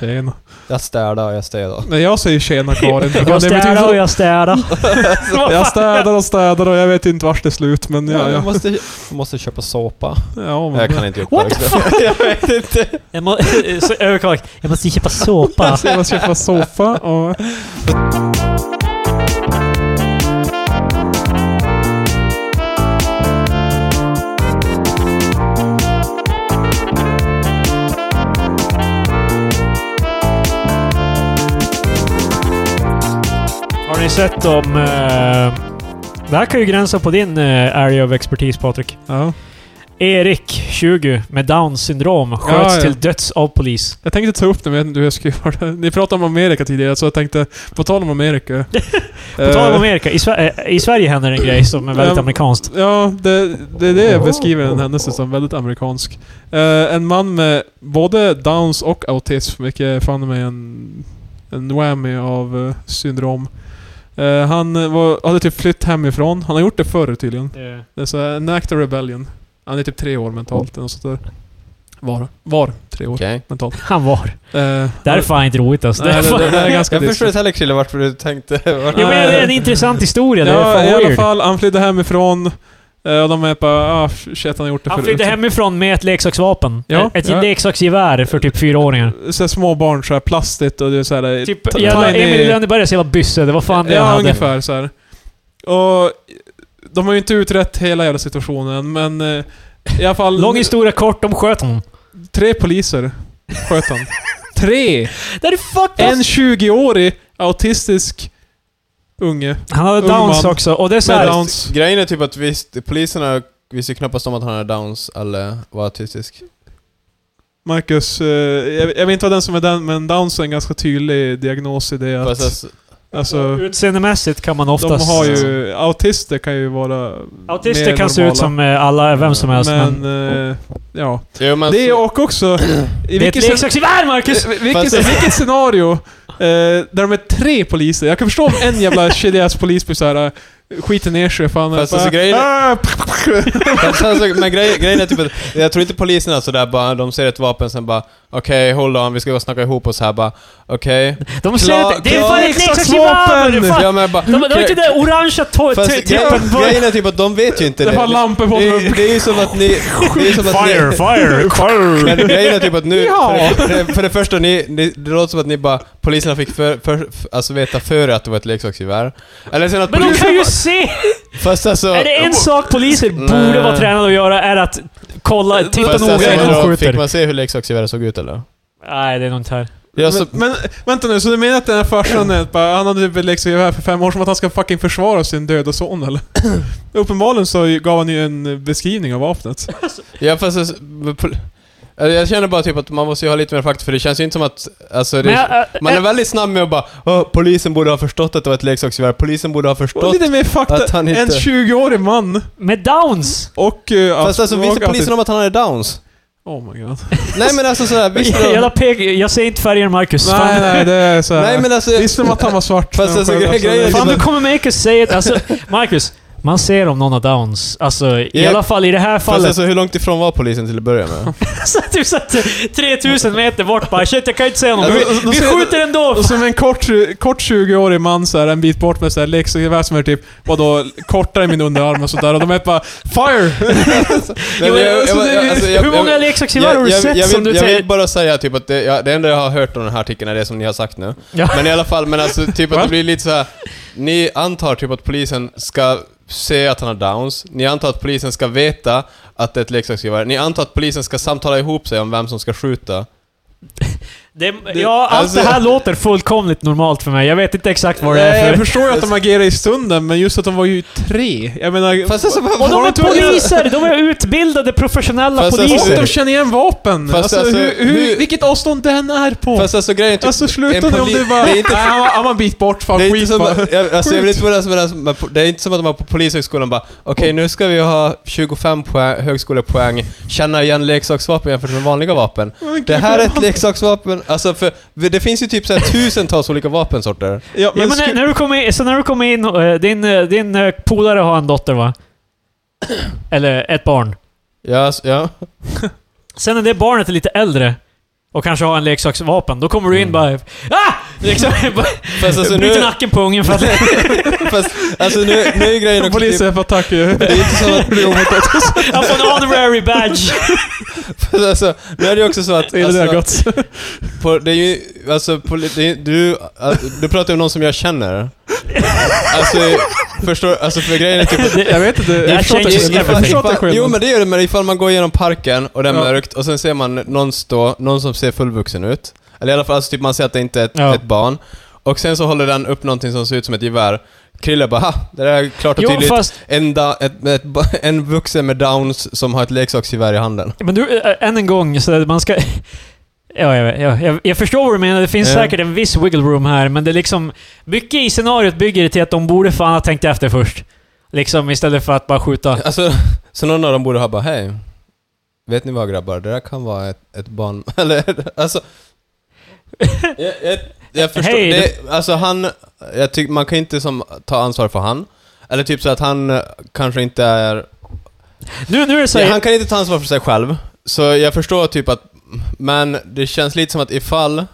Tjena. Jag städar och jag städar. Nej, jag säger tjena Karin. Det Jag betyder städar så- och jag städar. Jag städar och städar och jag vet inte vart det är slut men ja, Jag ja. måste, jag måste köpa såpa. ja men, Jag kan inte Oh What the fuck? [laughs] jag vet [laughs] inte. Jag, må, så överklart. jag måste köpa såpa. Jag måste köpa soffa och... Har ni sett om... eh, det här kan ju gränsa på din eh, area of expertis Patrik. Ja. Erik, 20, med Downs syndrom, sköts ja. till döds av polis. Jag tänkte ta upp det men jag vet inte hur jag ska göra det. Ni pratade om Amerika tidigare så jag tänkte, på tal om Amerika. [laughs] På tal om Amerika, i, Sve- eh, i Sverige händer en grej som är väldigt Eh. Ja. amerikanskt. Ja, det, det är det jag beskriver den händelsen som väldigt amerikansk. Eh, en man med både Downs och autism, vilket är fan med en, en whammy av eh, syndrom. Eh, han var, hade typ flytt hemifrån. Han har gjort det förr tydligen. Eh, Det är så här, en act of rebellion. Han är typ tre år mentalt. Eller något sånt där. Var. Var tre år Okej. mentalt. Han var. Eh, Det här är fan inte roligt alltså. Det är Nej, fan- det- det är [laughs] ganska Jag förstår dystert. inte heller Chrille varför du tänkte... Varför. [laughs] Jo, men det är en intressant historia. Det är Ja, i fan alla weird. fall. Han flydde hemifrån. eh, Och de är bara ah shit han har gjort det Han förut. flydde hemifrån med ett leksaksvapen. Ja, ett ja. leksaksgevär för typ fyraåringar. så här små barn så här plastigt och det är så här, eh, Typ t- jävla tiny- Emil i Lönnebergas jävla bysse. Det var fan det han Ja, hade. ungefär så här. Och de har ju inte utrett hela jävla situationen, men eh, [laughs] i alla fall... Lång historia kort, de sköt honom. [laughs] Tre poliser sköt han. Tre! Det är fucking... En 20-årig autistisk unge. Han hade ung downs man. också, och det är så Med här, Downs. Grejen är typ att visst, poliserna visste ju knappast om att han hade Downs eller var autistisk. Marcus, eh, jag, jag vet inte vad den som är den, men Downs är en ganska tydlig diagnos i det att... Fast Alltså, Utseendemässigt kan man de oftast... har ju... Autister kan ju vara... Autister mer kan se ut normala. som eh, alla, vem som helst, men... Men, eh, ja. Jo, men alltså- Det och också... I det är ett vilket, scen- leksaksgevär, Marcus! eh, vilket, vilket scenario eh, där de är tre poliser. Jag kan förstå om en jävla shitty polis blir såhär... eh, Skiter ner sig "Ah, för han är Fast alltså, grejen- [laughs] Fast alltså, men grej, grejen är typ att, jag tror inte poliserna sådär bara, de ser ett vapen sen bara Okej, hold on, vi ska gå och snacka ihop oss här bara Okej. De ser Klar- inte... Det är klar- fan ett leksaksgevär! det är typ Ja fan- men bara... De de har inte det orangea to- Fast t- grejen, tippen på... grejen är typ att de vet ju inte Det det. har lampor på Det [laughs] honom. är, det är ju som att ni... Det är som [laughs] att ni fire, men fire! grejen är typ att [laughs] nu, Ja. för, det, för det första, ni, ni, det låter som att ni bara, poliserna fick för, för, för, alltså veta före att det var ett leksaksgevär. Eller sen att Men de polisen... kan ju se! Fast alltså... Är det en sak poliser borde Nej. vara tränade att göra är att kolla, titta fast alltså, noga innan de vadå, fick skjuter. man se hur leksaksgeväret såg ut eller? Nej, det är nog inte här. Jag så, men, men vänta nu, så du menar att den här farsan är bara, han hade typ ett leksaksgevär för fem år som att han ska fucking försvara sin döda [clears throat] son eller? Uppenbarligen så gav han ju en beskrivning av vapnet. ja, fast alltså, pol- Eller jag känner bara typ att man måste ju ha lite mer fakta för det känns ju inte som att... Alltså, det, Men jag, äh, man är äh, väldigt snabb med att bara "Åh, polisen borde ha förstått att det var ett leksaksgevär, polisen borde ha Och förstått... lite mer fakta. att han inte- En 20-årig man med downs! och... eh, Fast alltså och visste att- polisen om att han hade downs? Oh [laughs] my god. Nej men alltså sådär, [laughs] visste de... Jag, pek, jag ser inte färgen Marcus. Nej, Fan, nej, det är såhär. Nej men alltså... Visste de att han var svart? Fast när de alltså, sköt gre- efter grejen är det? typ fan du att- kommer make us say it. Alltså, Marcus. Man ser om någon har downs. Alltså, i Ja. alla fall i det här Fast fallet. alltså hur långt ifrån var polisen till att börja med? Så att du satt 3000 meter bort bara shit jag kan inte se honom. Ja, Vi, då- då vi ser- skjuter ändå! Och som en kort, kort 20-årig man så här, en bit bort med så här leksaksgevär som är typ, vadå, kortare än min underarm och sådär. Och de är bara [laughs] FIRE! Nej, men jag- jag- så det- jag- alltså, jag- Hur jag- många leksaksgevär har du jag, sett jag, som vill, du jag vill tänker... bara säga typ att det, ja, det enda jag har hört om den här artikeln är det som ni har sagt nu. Ja. Men i alla fall, men alltså typ att Va? det blir lite så här. Ni antar typ att polisen ska se att han har downs, ni antar att polisen ska veta att det är ett leksaksgevär, ni antar att polisen ska samtala ihop sig om vem som ska skjuta. Det, ja, allt alltså- det här låter fullkomligt normalt för mig. Jag vet inte exakt vad det Nej, är jag för... förstår ju att de agerar i stunden, men just att de var ju tre. Jag menar... Fast alltså, vad- Och de vad- är poliser! De är utbildade professionella Fast alltså- och poliser. de känner igen vapen! Fast alltså, alltså, hur, hur, hur- vilket avstånd den är på! Fast alltså grejen är typ... alltså sluta en nu om poli- du bara... det är Nej, inte- han var- han var en bit bort, fan Det är, inte skit som, bara. jag, alltså jag vill Skit. inte vara som deras- men det är inte som att de har på polishögskolan bara Okej, nu ska vi ha 25 poäng, högskolepoäng, känna igen leksaksvapen jämfört med vanliga vapen. Det här är ett leksaksvapen, alltså för det finns ju typ så här tusentals olika vapensorter. Ja, Ja, men men sku- när, när du kom in, så när du kom in eh, din, eh, din eh, polare har en dotter va? Eller ett barn. Ja, alltså, ja. Sen när det barnet är lite äldre och kanske har en leksaksvapen, då kommer du in Mm. bara... Ah! Liksom, [laughs] bara Fast alltså bryter nu, nacken på ungen för [laughs] att... fast, alltså nu, nu är grejen också typ, Polisen får [laughs] attack ju. det är inte så [laughs] att, Han får en honorary badge. fast alltså, nu är det ju också så att, Det är det där alltså, gott. Typ på, det är ju, alltså, på, det är, du, alltså, du pratar ju om någon som jag känner. Alltså, förstår, alltså för grejen är typ att Jag vet inte. Det här Jag förstår inte changes skillnaden. Jag Ifall- förstår ifall- inte skillnaden. Jo men det gör det, men ifall man går igenom parken och det är Ja. mörkt och sen ser man någon stå, någon som ser fullvuxen ut. Eller i alla fall, alltså, typ man ser att det inte är ett, Ja. ett barn. Och sen så håller den upp någonting som ser ut som ett gevär. Krille bara ha, det där är klart och Jo, tydligt. fast... En, da, ett, ett, ba- en vuxen med downs som har ett leksaksgevär i handen. Men du, eh, än en gång, så att man ska... Ja, jag, vet, ja, jag, jag förstår vad du menar. Det finns Ja. säkert en viss wiggle room här, men det är liksom... Mycket i scenariot bygger det till att de borde fan ha tänkt efter först. Liksom istället för att bara skjuta. Alltså, [laughs] så någon av dem borde ha bara hej. Vet ni vad grabbar, det där kan vara ett, ett barn... [laughs] Eller alltså... Jag, jag, jag förstår. Hej, det, alltså han... Jag tycker man kan inte som, ta ansvar för han. Eller typ så att han eh, kanske inte är... Nu, nu är det så ja, här, han kan inte ta ansvar för sig själv. Så jag förstår typ att... Men det känns lite som att ifall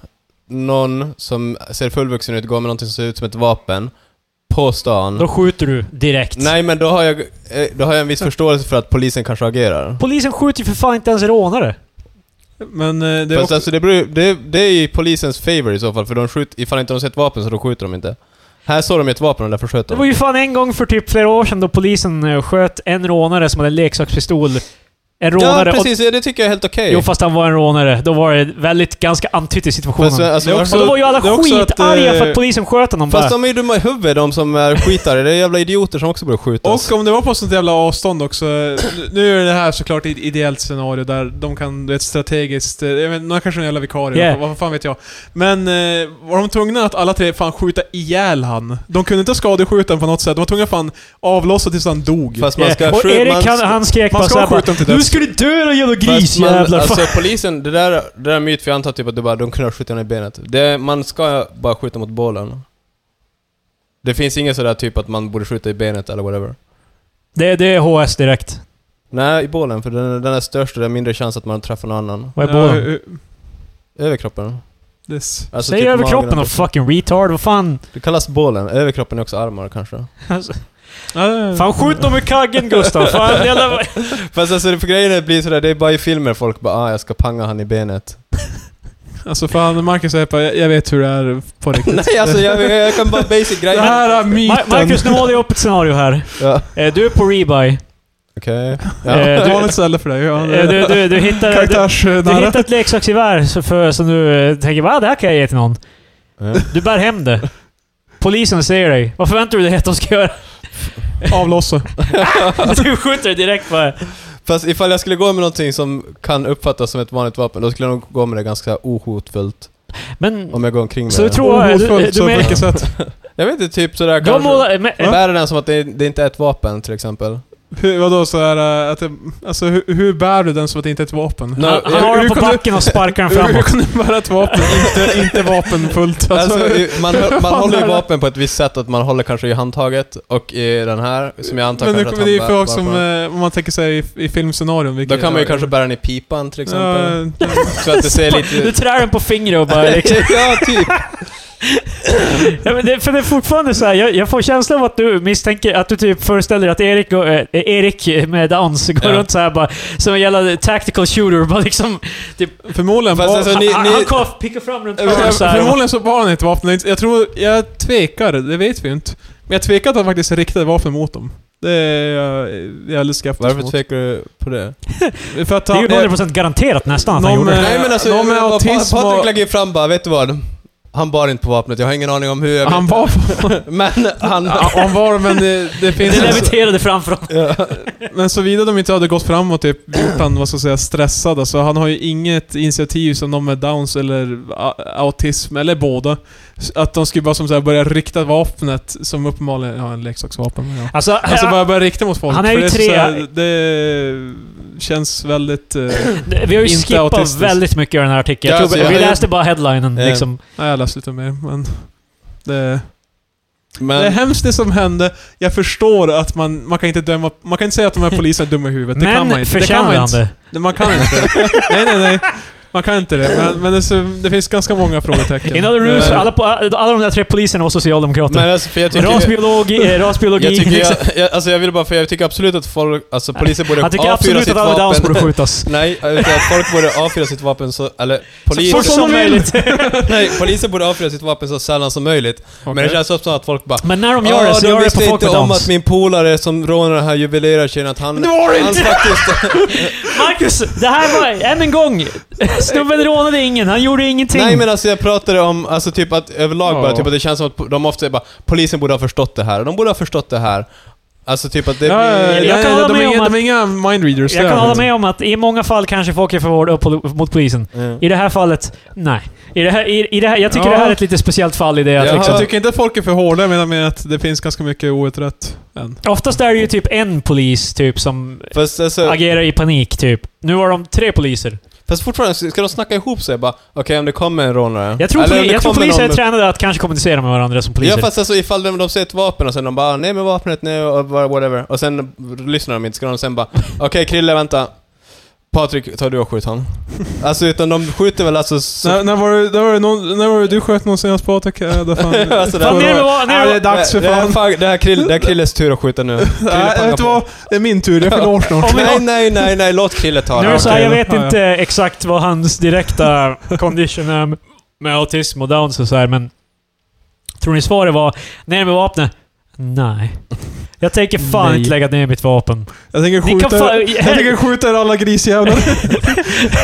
någon som ser fullvuxen ut går med någonting som ser ut som ett vapen på stan. Då skjuter du direkt. Nej men då har, jag, eh, då har jag en viss förståelse för att polisen kanske agerar. Polisen skjuter ju för fan inte ens rånare. Men eh, det är Fast också... alltså det, beror, det, det är ju polisens favor i så fall, för de skjuter, ifall inte de ser ett vapen så då skjuter de inte. Här såg de ju ett vapen och därför sköt Det de. var ju fan en gång för typ flera år sedan då polisen eh, sköt en rånare som hade en leksakspistol en rånare. Ja, och- precis. Ja, det tycker jag är helt okej. Jo, fast han var en rånare. Då var det väldigt, ganska antytt i situationen. Fast, alltså, Det är och också- då var ju alla det är också att, skitarga eh, för att polisen sköt honom Fast bara. de är ju dumma i huvudet, de som är skitare. Det är jävla idioter som också borde skjutas. Alltså. Och om det var på sånt jävla avstånd också. nu- Nu är det här såklart ett ideellt scenario där de kan, du vet, strategiskt... eh, Jag vet, några kanske är en jävla vikarie, Yeah. vad fan vet jag. Men eh, var de tvungna att alla tre fan skjuta ihjäl han? De kunde inte skadeskjuta honom på något sätt. De var tvungna fan avlossa tills han dog. Fast man ska Eh, och skjuta- Erik man- han, han skrek man bara såhär ska skjuta till bara, Du döds." ska du dö din jävla Fast man- grisjävlar! Alltså polisen, det där, det där är myt, för jag antar typ att du bara, de kunde ha skjutit honom i benet. Det, man ska bara skjuta mot bollen. Det finns ingen sådär typ att man borde skjuta i benet eller whatever. det, det är HS direkt. Nej, i bollen, för den, den är störst och det är mindre chans att man träffar någon annan. Vad är Ja, båden? eh, Överkroppen. this. Alltså Säg över kroppen magen. och fucking retard, vad fan? Det kallas bollen. Överkroppen är också armar kanske. Ja, Fan skjut dem i kaggen Gustav! [laughs] Fan, jävla... Fast alltså för grejen är att det blir sådär, det är bara i filmer folk bara ah, jag ska panga han i benet. [laughs] Alltså fan, Marcus är på, jag jag vet hur det är [laughs] på riktigt. Nej alltså jag, jag kan bara basic det grejer. här är Ma- myten. Marcus, nu håller jag upp ett scenario här. Ja, Eh, Du är på rebuy. Okej. Eh, Ja. det du- var ett ställe för dig. Ja, Eh, Du, du, du hittar... Du, du Karaktärsnära. hittar ett leksaksgevär så för, som du eh, tänker va, det här kan jag ge till någon. Ja. Du bär hem det. Polisen ser dig. Vad förväntar du dig att de ska göra? Avlossa. [laughs] Alltså, Du skjuter det direkt bara. Fast ifall jag skulle gå med någonting som kan uppfattas som ett vanligt vapen, då skulle jag nog gå med det ganska ohotfullt. Men... Om jag går omkring med Så du det. tror... Du, du, Ohotfullt, du så på men, vilket sätt? Jag vet inte, typ sådär de kanske. målar... Men, Bära den som att det, det inte är ett vapen till [laughs] exempel. Hur, vadå såhär, äh, att det, alltså hur, hur bär du den som att det inte är ett vapen? No, han, han jag- har den hur på kom du- backen och sparkar den [laughs] Hur, hur framåt. kan du bära ett vapen? inte, inte vapenfullt. Alltså, Alltså, i- man, hö- man [laughs] Fan, håller ju det här- vapen på ett visst sätt, att man håller kanske i handtaget och i den här, som jag antar men, det, kanske att han men det är ju bär- för bär folk som, på den. eh, om man tänker sig i, i filmscenarion. Då vilket- kan man ju kanske bära den i pipan till exempel. Ja, [laughs] Så att det ser lite... Du trär den på fingret och bara liksom. [laughs] ja, [laughs] typ. ja, men det, För det är fortfarande så här, jag, jag får känslan av att du misstänker, att du typ föreställer dig att Erik, går, eh, Erik med dans går Ja. runt så här bara som en jävla tactical shooter och bara liksom... förmodligen, Fast var, alltså, ni- han, ni- han kom, pickar fram runt eh, hörnet så här. förmodligen så var han ett vapen. Jag tror, jag tvekar, det vet vi ju inte. Men jag tvekar att han faktiskt riktade vapen mot dem. Det är jag, jag är alldeles skeptisk Varför mot. tvekar du på det? För att Det är ju han, 100% garanterat nästan att han Någon, gjorde det. eh, Nej men alltså, de med vad- autism Patrik och- lägger ju fram bara, vet du vad? Han bar inte på vapnet, jag har ingen aning om hur jag han vet. [laughs] var... Men han... Ja, [laughs] han var men det, det eh, finns... Det leviterade framför honom. Men såvida de inte hade gått fram och typ gjort han, vad ska jag säga, stressad. Alltså, han har ju inget initiativ som de med Downs eller a- autism, eller båda. S- Att de skulle bara som så här börja rikta vapnet, som uppenbarligen har en leksaksvapen. men Ja. Alltså, [laughs] Alltså bara börja rikta mot folk. Han är för ju det så tre- här, det känns väldigt... eh, vi har ju inte skippat autistisk. väldigt mycket av den här artikeln. Ja, Jag alltså, tror, jag vi har ju- läste bara headlinen Eh, liksom. Nej, jag läste lite mer, men... Det, det är men, hemskt det som hände. Jag förstår att man, man kan inte döma... Man kan inte säga att de här poliserna är dumma i huvudet. Det kan man Men inte. Det kan förtjänar man han inte. det? Nej, Man kan inte. nej, nej, nej. Man kan inte det. Men, men det, så, det finns ganska många frågetecken. Eh, In other news, Men- alla, på- alla de där tre poliserna var men socialdemokrater. alltså, för jag tycker... Rasbiologi, eh, rasbiologi. [laughs] Jag tycker, [laughs] liksom. jag, jag, alltså jag vill bara, för jag tycker absolut att folk, alltså polisen borde han tycker avfyra absolut sitt att alla downs vapen. [laughs] borde skjutas. Nej, jag tycker att folk borde avfyra sitt vapen så, eller Så fort polisen, som möjligt. [laughs] nej, polisen borde avfyra sitt vapen så sällan som möjligt. Okej. Men det känns också som att folk bara Men när Mm, de gör det "Ah, så de gör det på visste folk inte med om downs. att min polare som rånar den här juvelerartjejen att han... Det var det han inte! faktiskt... [laughs] Marcus, det här var än en gång. Snubben rånade ingen, han gjorde ingenting. Nej men alltså jag pratade om, alltså typ att överlag bara, Ja. typ att det känns som att po- de ofta är bara Polisen borde ha förstått det här, de borde ha förstått det här. Alltså typ att det Ja, ja, blir... jag nej, kan nej, hålla de, med är, om inga- att- de är inga mind readers. jag det är kan de hålla inte. med om att i många fall kanske folk är för vård upp pol- mot polisen. Mm. I det här fallet, nej. I det här, i, i det här, jag tycker Ja. det här är ett lite speciellt fall i det att Jaha. liksom, Jag tycker inte att folk är för hårda, men jag menar att det finns ganska mycket outrett än. Oftast är det ju typ en polis typ som Fast, alltså, agerar i panik typ. Nu var de tre poliser. fast fortfarande, ska de snacka ihop sig? Bara, okej om det kommer en rånare... Jag tror, Eller om poli- det jag tror kommer poliser är någon- tränade att kanske kommunicera med varandra som poliser. Ja fast alltså ifall de, de ser ett vapen och sen de bara "Ah, nej men vapnet nu och bara whatever. Och sen lyssnar de inte, ska de sen bara [laughs] okej Krille vänta. Patrik, tar du och skjut han. [laughs] Alltså utan de skjuter väl alltså... Så, När, när, var det, när, var det någon, när var det du sköt någon senast Patrik? [laughs] Ja, det fan. Alltså, det Fan, var- ner med va- ner Ja, med- det är dags för det, det, är fan. fan- det, här Krill, det är Krilles tur att skjuta nu. Krille, Nej, panga vet du på. vad? Det är min tur. Jag fyller år snart. Om vi- Nej, nej, nej, nej, låt Krille ta Nu är det. det så här, okej, jag då. vet Ja, ja. inte exakt vad [laughs] hans direkta condition är med- med autism och downs och så här, men... Tror ni svaret var ner med vapnet? Nej. Jag tänker fan Nej. inte lägga ner mitt vapen. Jag tänker Ni kan skjuta, fan- jag tänker skjuta er [laughs] alla grisjävlar.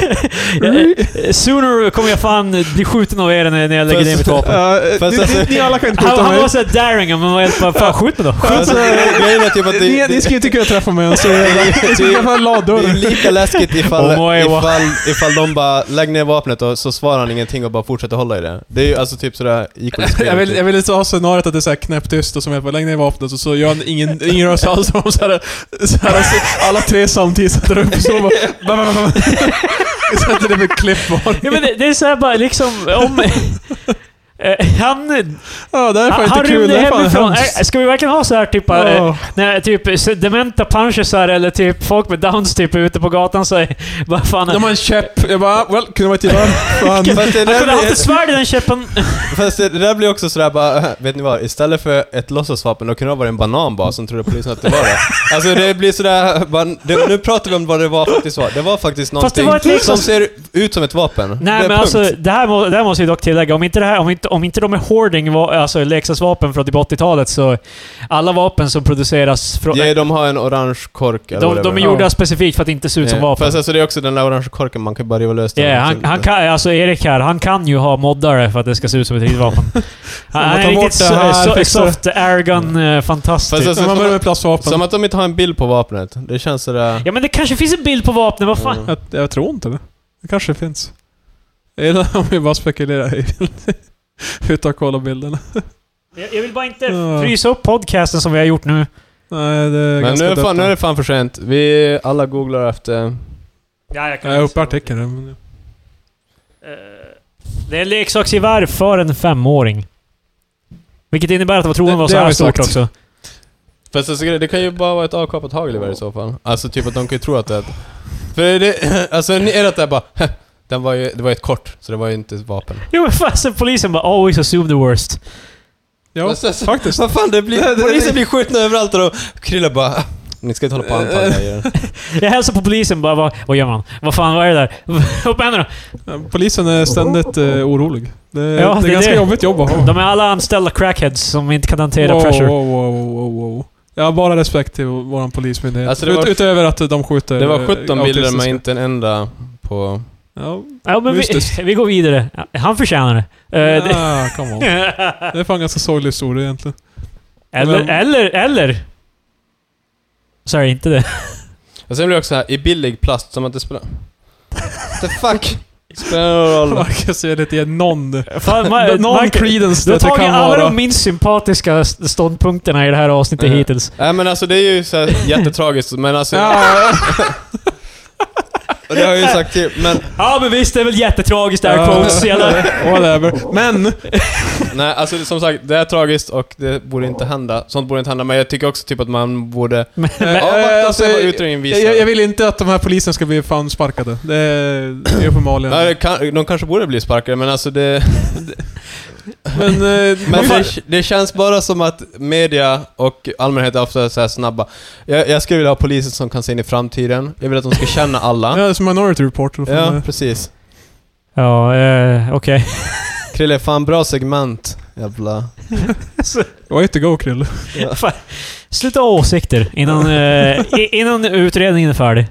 Eh, Sooner kommer jag fan bli skjuten av er när när jag lägger Fast- ner mitt vapen. [laughs] Eh, Fast ni, alltså- ni, ni alla kan inte Han, skjuta han mig. var såhär daring, men var helt bara fan skjut mig då. Skjut Alltså, grejen är typ att Ni, det, ni det, skulle inte kunna träffa [laughs] mig ens. så jävla- Ni skulle träffa en det är laddörr. lika läskigt [laughs] ifall, Oh my, wow. ifall, ifall de bara lägger ner vapnet och så svarar han ingenting och bara fortsätter hålla i det. Det är ju alltså typ [laughs] sådär equal Jag spel. vill, jag typ. vill inte ha scenariot att det är såhär knäpptyst och som jag bara lägger ner vapnet och så gör han ingen, ingen rörelse alls. Och så här, så här, så alla tre samtidigt sätter upp så bara... bam, bam, [laughs] bam. Sätter det med klipp var. Ja, men det, det är såhär bara liksom, [laughs] om... [laughs] Eh, han Ja, det här är fan han, han inte kul. Det rymde här är fan hemifrån. hemskt. Eh, Ska vi verkligen ha så här typ, eh, Ja. när, typ så- dementa punchesar eller typ folk med downs typ är ute på gatan så är- vad fan... De har en käpp. Jag bara, ah, well, kunde man [laughs] inte göra. Fan. Fast det, han där kunde haft ett blir, svärd i den [laughs] käppen. fast det där blir också sådär bara, [laughs] vet ni vad? Istället för ett låtsasvapen, då kunde det ha varit en banan bara som trodde polisen att det var det. Alltså det blir sådär, bara, det, nu pratar vi om vad det var faktiskt var. Det var faktiskt Fast det någonting var ett liksom- som ser ut som ett vapen. Nej det är men punkt. alltså, det här, må, det här måste vi dock tillägga. Om inte, det här, om inte, om inte de är hoarding, va- alltså leksaksvapen från typ 80-talet, så alla vapen som produceras från... Ja, de har en orange kork eller de, whatever. de är gjorda specifikt för att inte se ut som Ja, vapen. Fast alltså det är också den där orange korken, man kan ju bara riva lös den. Ja, han, han kan, alltså Erik här, han kan ju ha moddare för att det ska se ut som ett riktigt [laughs] vapen. Han, Man han är tar en bort riktigt det här, so, so, fixar det. soft airgun fantast. Fast typ. alltså, Men man börjar som, med plastvapen. som att de inte har en bild på vapnet. Det känns sådär... Ja men det kanske finns en bild på vapnet, vad fan? Mm. Jag, jag tror inte det. Det kanske finns. Jag gillar om vi bara spekulerar i [laughs] Utan att kolla bilderna. Jag, jag vill bara inte Ja. frysa upp podcasten som vi har gjort nu. Nej, det är Men nu ganska är, dött fan, nu är det fan för sent. Vi alla googlar efter... Ja, jag Jag är uppe i artikeln. nu, men- Eh, Det är en leksaksgevär för en femåring. Vilket innebär att patronen Det- var det så har här vi stort sagt. också. Fast alltså, det kan ju bara vara ett avkapat hagelgevär i så fall. Alltså typ att de kan ju tro att det är ett... För det... [laughs] Alltså ni är det där bara... Den var ju, det var ju ett kort, så det var ju inte ett vapen. Jo men fan, så polisen bara “Always assume the worst”. Ja, Fast alltså- faktiskt. Vad fan, det [laughs] blir, polisen blir skjutna överallt och då... Krille bara... "Ah, Ni ska inte hålla på och anta Eh, grejer. Jag hälsar på polisen bara “Vad, vad gör man? Vad fan, vad är det där? [laughs] Upp med händerna!” Polisen är ständigt eh, orolig. Det, är- Ja, det är det är ganska det. jobbigt jobb att ha. De är alla anställda crackheads som inte kan hantera Oh. wow, pressure. Wow, wow, wow, wow, wow. Jag har bara respekt till vår polismyndighet. Alltså, det var- Ut, utöver att de skjuter Det eh, var 17 bilder men autistiska. inte en enda på... Ja, Ja, men vi, Mystiskt. [laughs] vi går vidare. Han förtjänar det. Eh, det- ah, come on. Det är fan en ganska sorglig historia egentligen. [laughs] eller, Men- eller, eller... Sorry, inte det. Och sen Alltså, blir det också här, i billig plast som att det spelar... The fuck? Spelar [laughs] [laughs] någon roll. Marcus ger lite någon... Fan, Ma- Någon Marcus- credence Du har det, det tagit kan alla vara. de minst sympatiska st- ståndpunkterna i det här avsnittet Mm. hittills. Nej men alltså det är ju så här jättetragiskt men alltså... Ja, Och det har jag ju sagt till, men... Ja men visst, det är väl jättetragiskt det här Ja. quotes. jävla- Whatever. Men, eh, Nej alltså som sagt, det är tragiskt och det borde inte hända. Sånt borde inte hända men jag tycker också typ att man borde... Men, Eh, Avvakta och alltså, se vad utredningen visar. jag, jag jag vill inte att de här poliserna ska bli fan sparkade. Det är det är uppenbarligen... Nej, det kan, de kanske borde bli sparkade men alltså det... Men, eh, Men fan, det, det känns bara som att media och allmänhet är ofta så här snabba. Jag, jag skulle vilja ha poliser som kan se in i framtiden. Jag vill att de ska känna [laughs] ja, alla. det är som Minority Report. då får Ja, man- precis. [laughs] ja, eh, okej. Krille, fan bra segment. Jävla... Way to go, Krille. [laughs] Fan. Sluta ha åsikter [laughs] innan, eh, i- innan utredningen är färdig.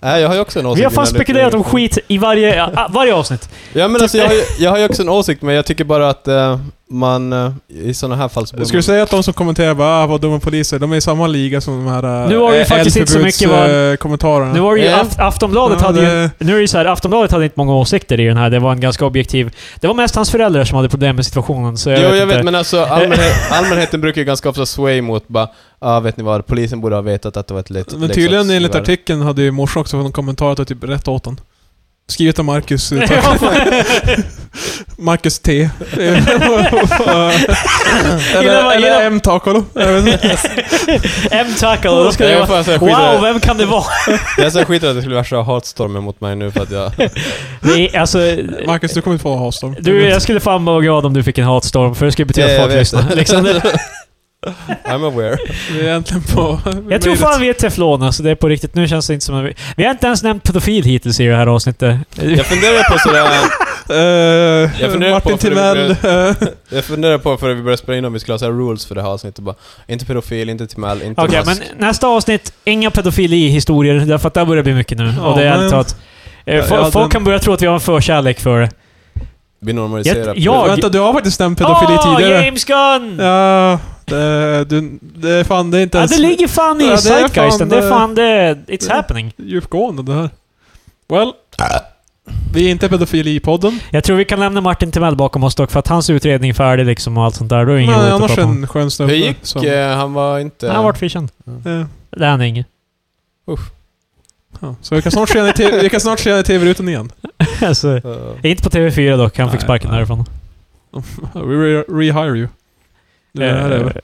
Nej, jag har ju också en åsikt. Vi har fan innan det- spekulerat om skit i varje, ja, varje avsnitt. Ja men alltså jag har, ju, jag har ju också en åsikt men jag tycker bara att eh, man eh, i sådana här fall så borde Skulle du man... säga att de som kommenterar bara ah, vad dumma poliser, de är i samma liga som de här eh, Nu var det ju faktiskt inte så mycket eldförbuds, eh, kommentarerna. Nu var det ju Ja. Aft- Aftonbladet Ja, hade ju... det- Nu är det ju så här, Aftonbladet hade inte många åsikter i den här. Det var en ganska objektiv... Det var mest hans föräldrar som hade problem med situationen, så jag Jo vet jag inte. vet men alltså allmänhet, allmänheten brukar ju ganska ofta sway mot bara Ja vet ni vad, polisen borde ha vetat att det var ett lätt Men tydligen enligt leksaksgevär." artikeln hade ju morsan också fått en kommentar att jag typ rätt åt honom. Skrivet av [laughs] Marcus. eh, tack. [laughs] Ja, fan. Marcus T. eller Gillar- gillar- eller M. Takolo. Jag vet inte. M tackle, då ska Jag jag är fan så här Wow, skiträdd. vem kan det vara? Jag är så här skiträdd att det skulle vara så här hatstormen mot mig nu för att jag... [laughs] Nej, alltså... Marcus, du kommer inte få ha storm. Du, jag skulle fan vara glad om du fick en hatstorm, för det skulle betyda Ja, att Eh, [laughs] jag folk vet. lyssnar. Liksom det, I'm aware. Vi är egentligen på... Jag tror fan vi är teflon alltså. Det är på riktigt. Nu känns det inte som att vi... Vi har inte ens nämnt pedofil hittills i det här avsnittet. Jag funderar på sådär... Eh, Jag funderar på Martin för det Timell. eh, Jag funderar på före vi började spela in om vi skulle ha så här rules för det här avsnittet bara. Inte pedofil, inte Timell, inte [laughs] Okej, mask. men nästa avsnitt, inga pedofili-historier, därför att det här börjar bli mycket nu. Ja, och det är men- ärligt talat... eh, Ja, fo- ja, folk den- kan börja tro att vi har en förkärlek för det. Vi normaliserar Jag- pedofil. jag- Vänta, du har faktiskt nämnt pedofili Åh, tidigare. Ah, James Gunn! Ja, Ja, det, du, det är fan, det är inte ens det ligger fan i Ja, det är fan, zeitgeisten. Det är eh, fan det... It's det- happening. djupgående det här. Well, vi är inte pedofili-podden. Jag tror vi kan lämna Martin Timell bakom oss dock, för att hans utredning är färdig liksom och allt sånt där. Då är det ingen Men roligt att annars prata om. en skön snubbe. Hur gick? som- eh, Han var inte... Han har varit frikänd. eh, Det är han inget. ja. Så vi kan snart se henne i TV vi kan snart se henne i TV-rutan igen. [laughs] alltså, Eh, inte på TV4 dock, han fick Nej, sparken nej. därifrån. We re rehire you. Det här är Eh, över.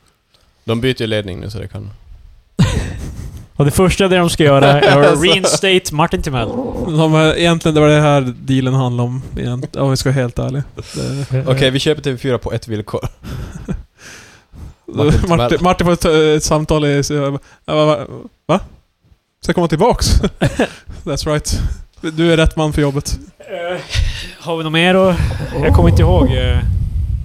De byter ju ledning nu så det kan... och det första det de ska göra [laughs] är Alltså. att reinstate Martin Timell. De här, egentligen det var det här dealen handlade om, egent- om vi ska vara helt ärlig. Det, Okej, vi köper TV4 på ett villkor. Martin [laughs] Martin, Timell. Martin, får ett, eh, ett samtal i... så jag bara, jag bara, Va? Ska jag [laughs] komma tillbaks? That's right. Du är rätt man för jobbet. Eh, har vi något mer att... Jag kommer inte ihåg. eh.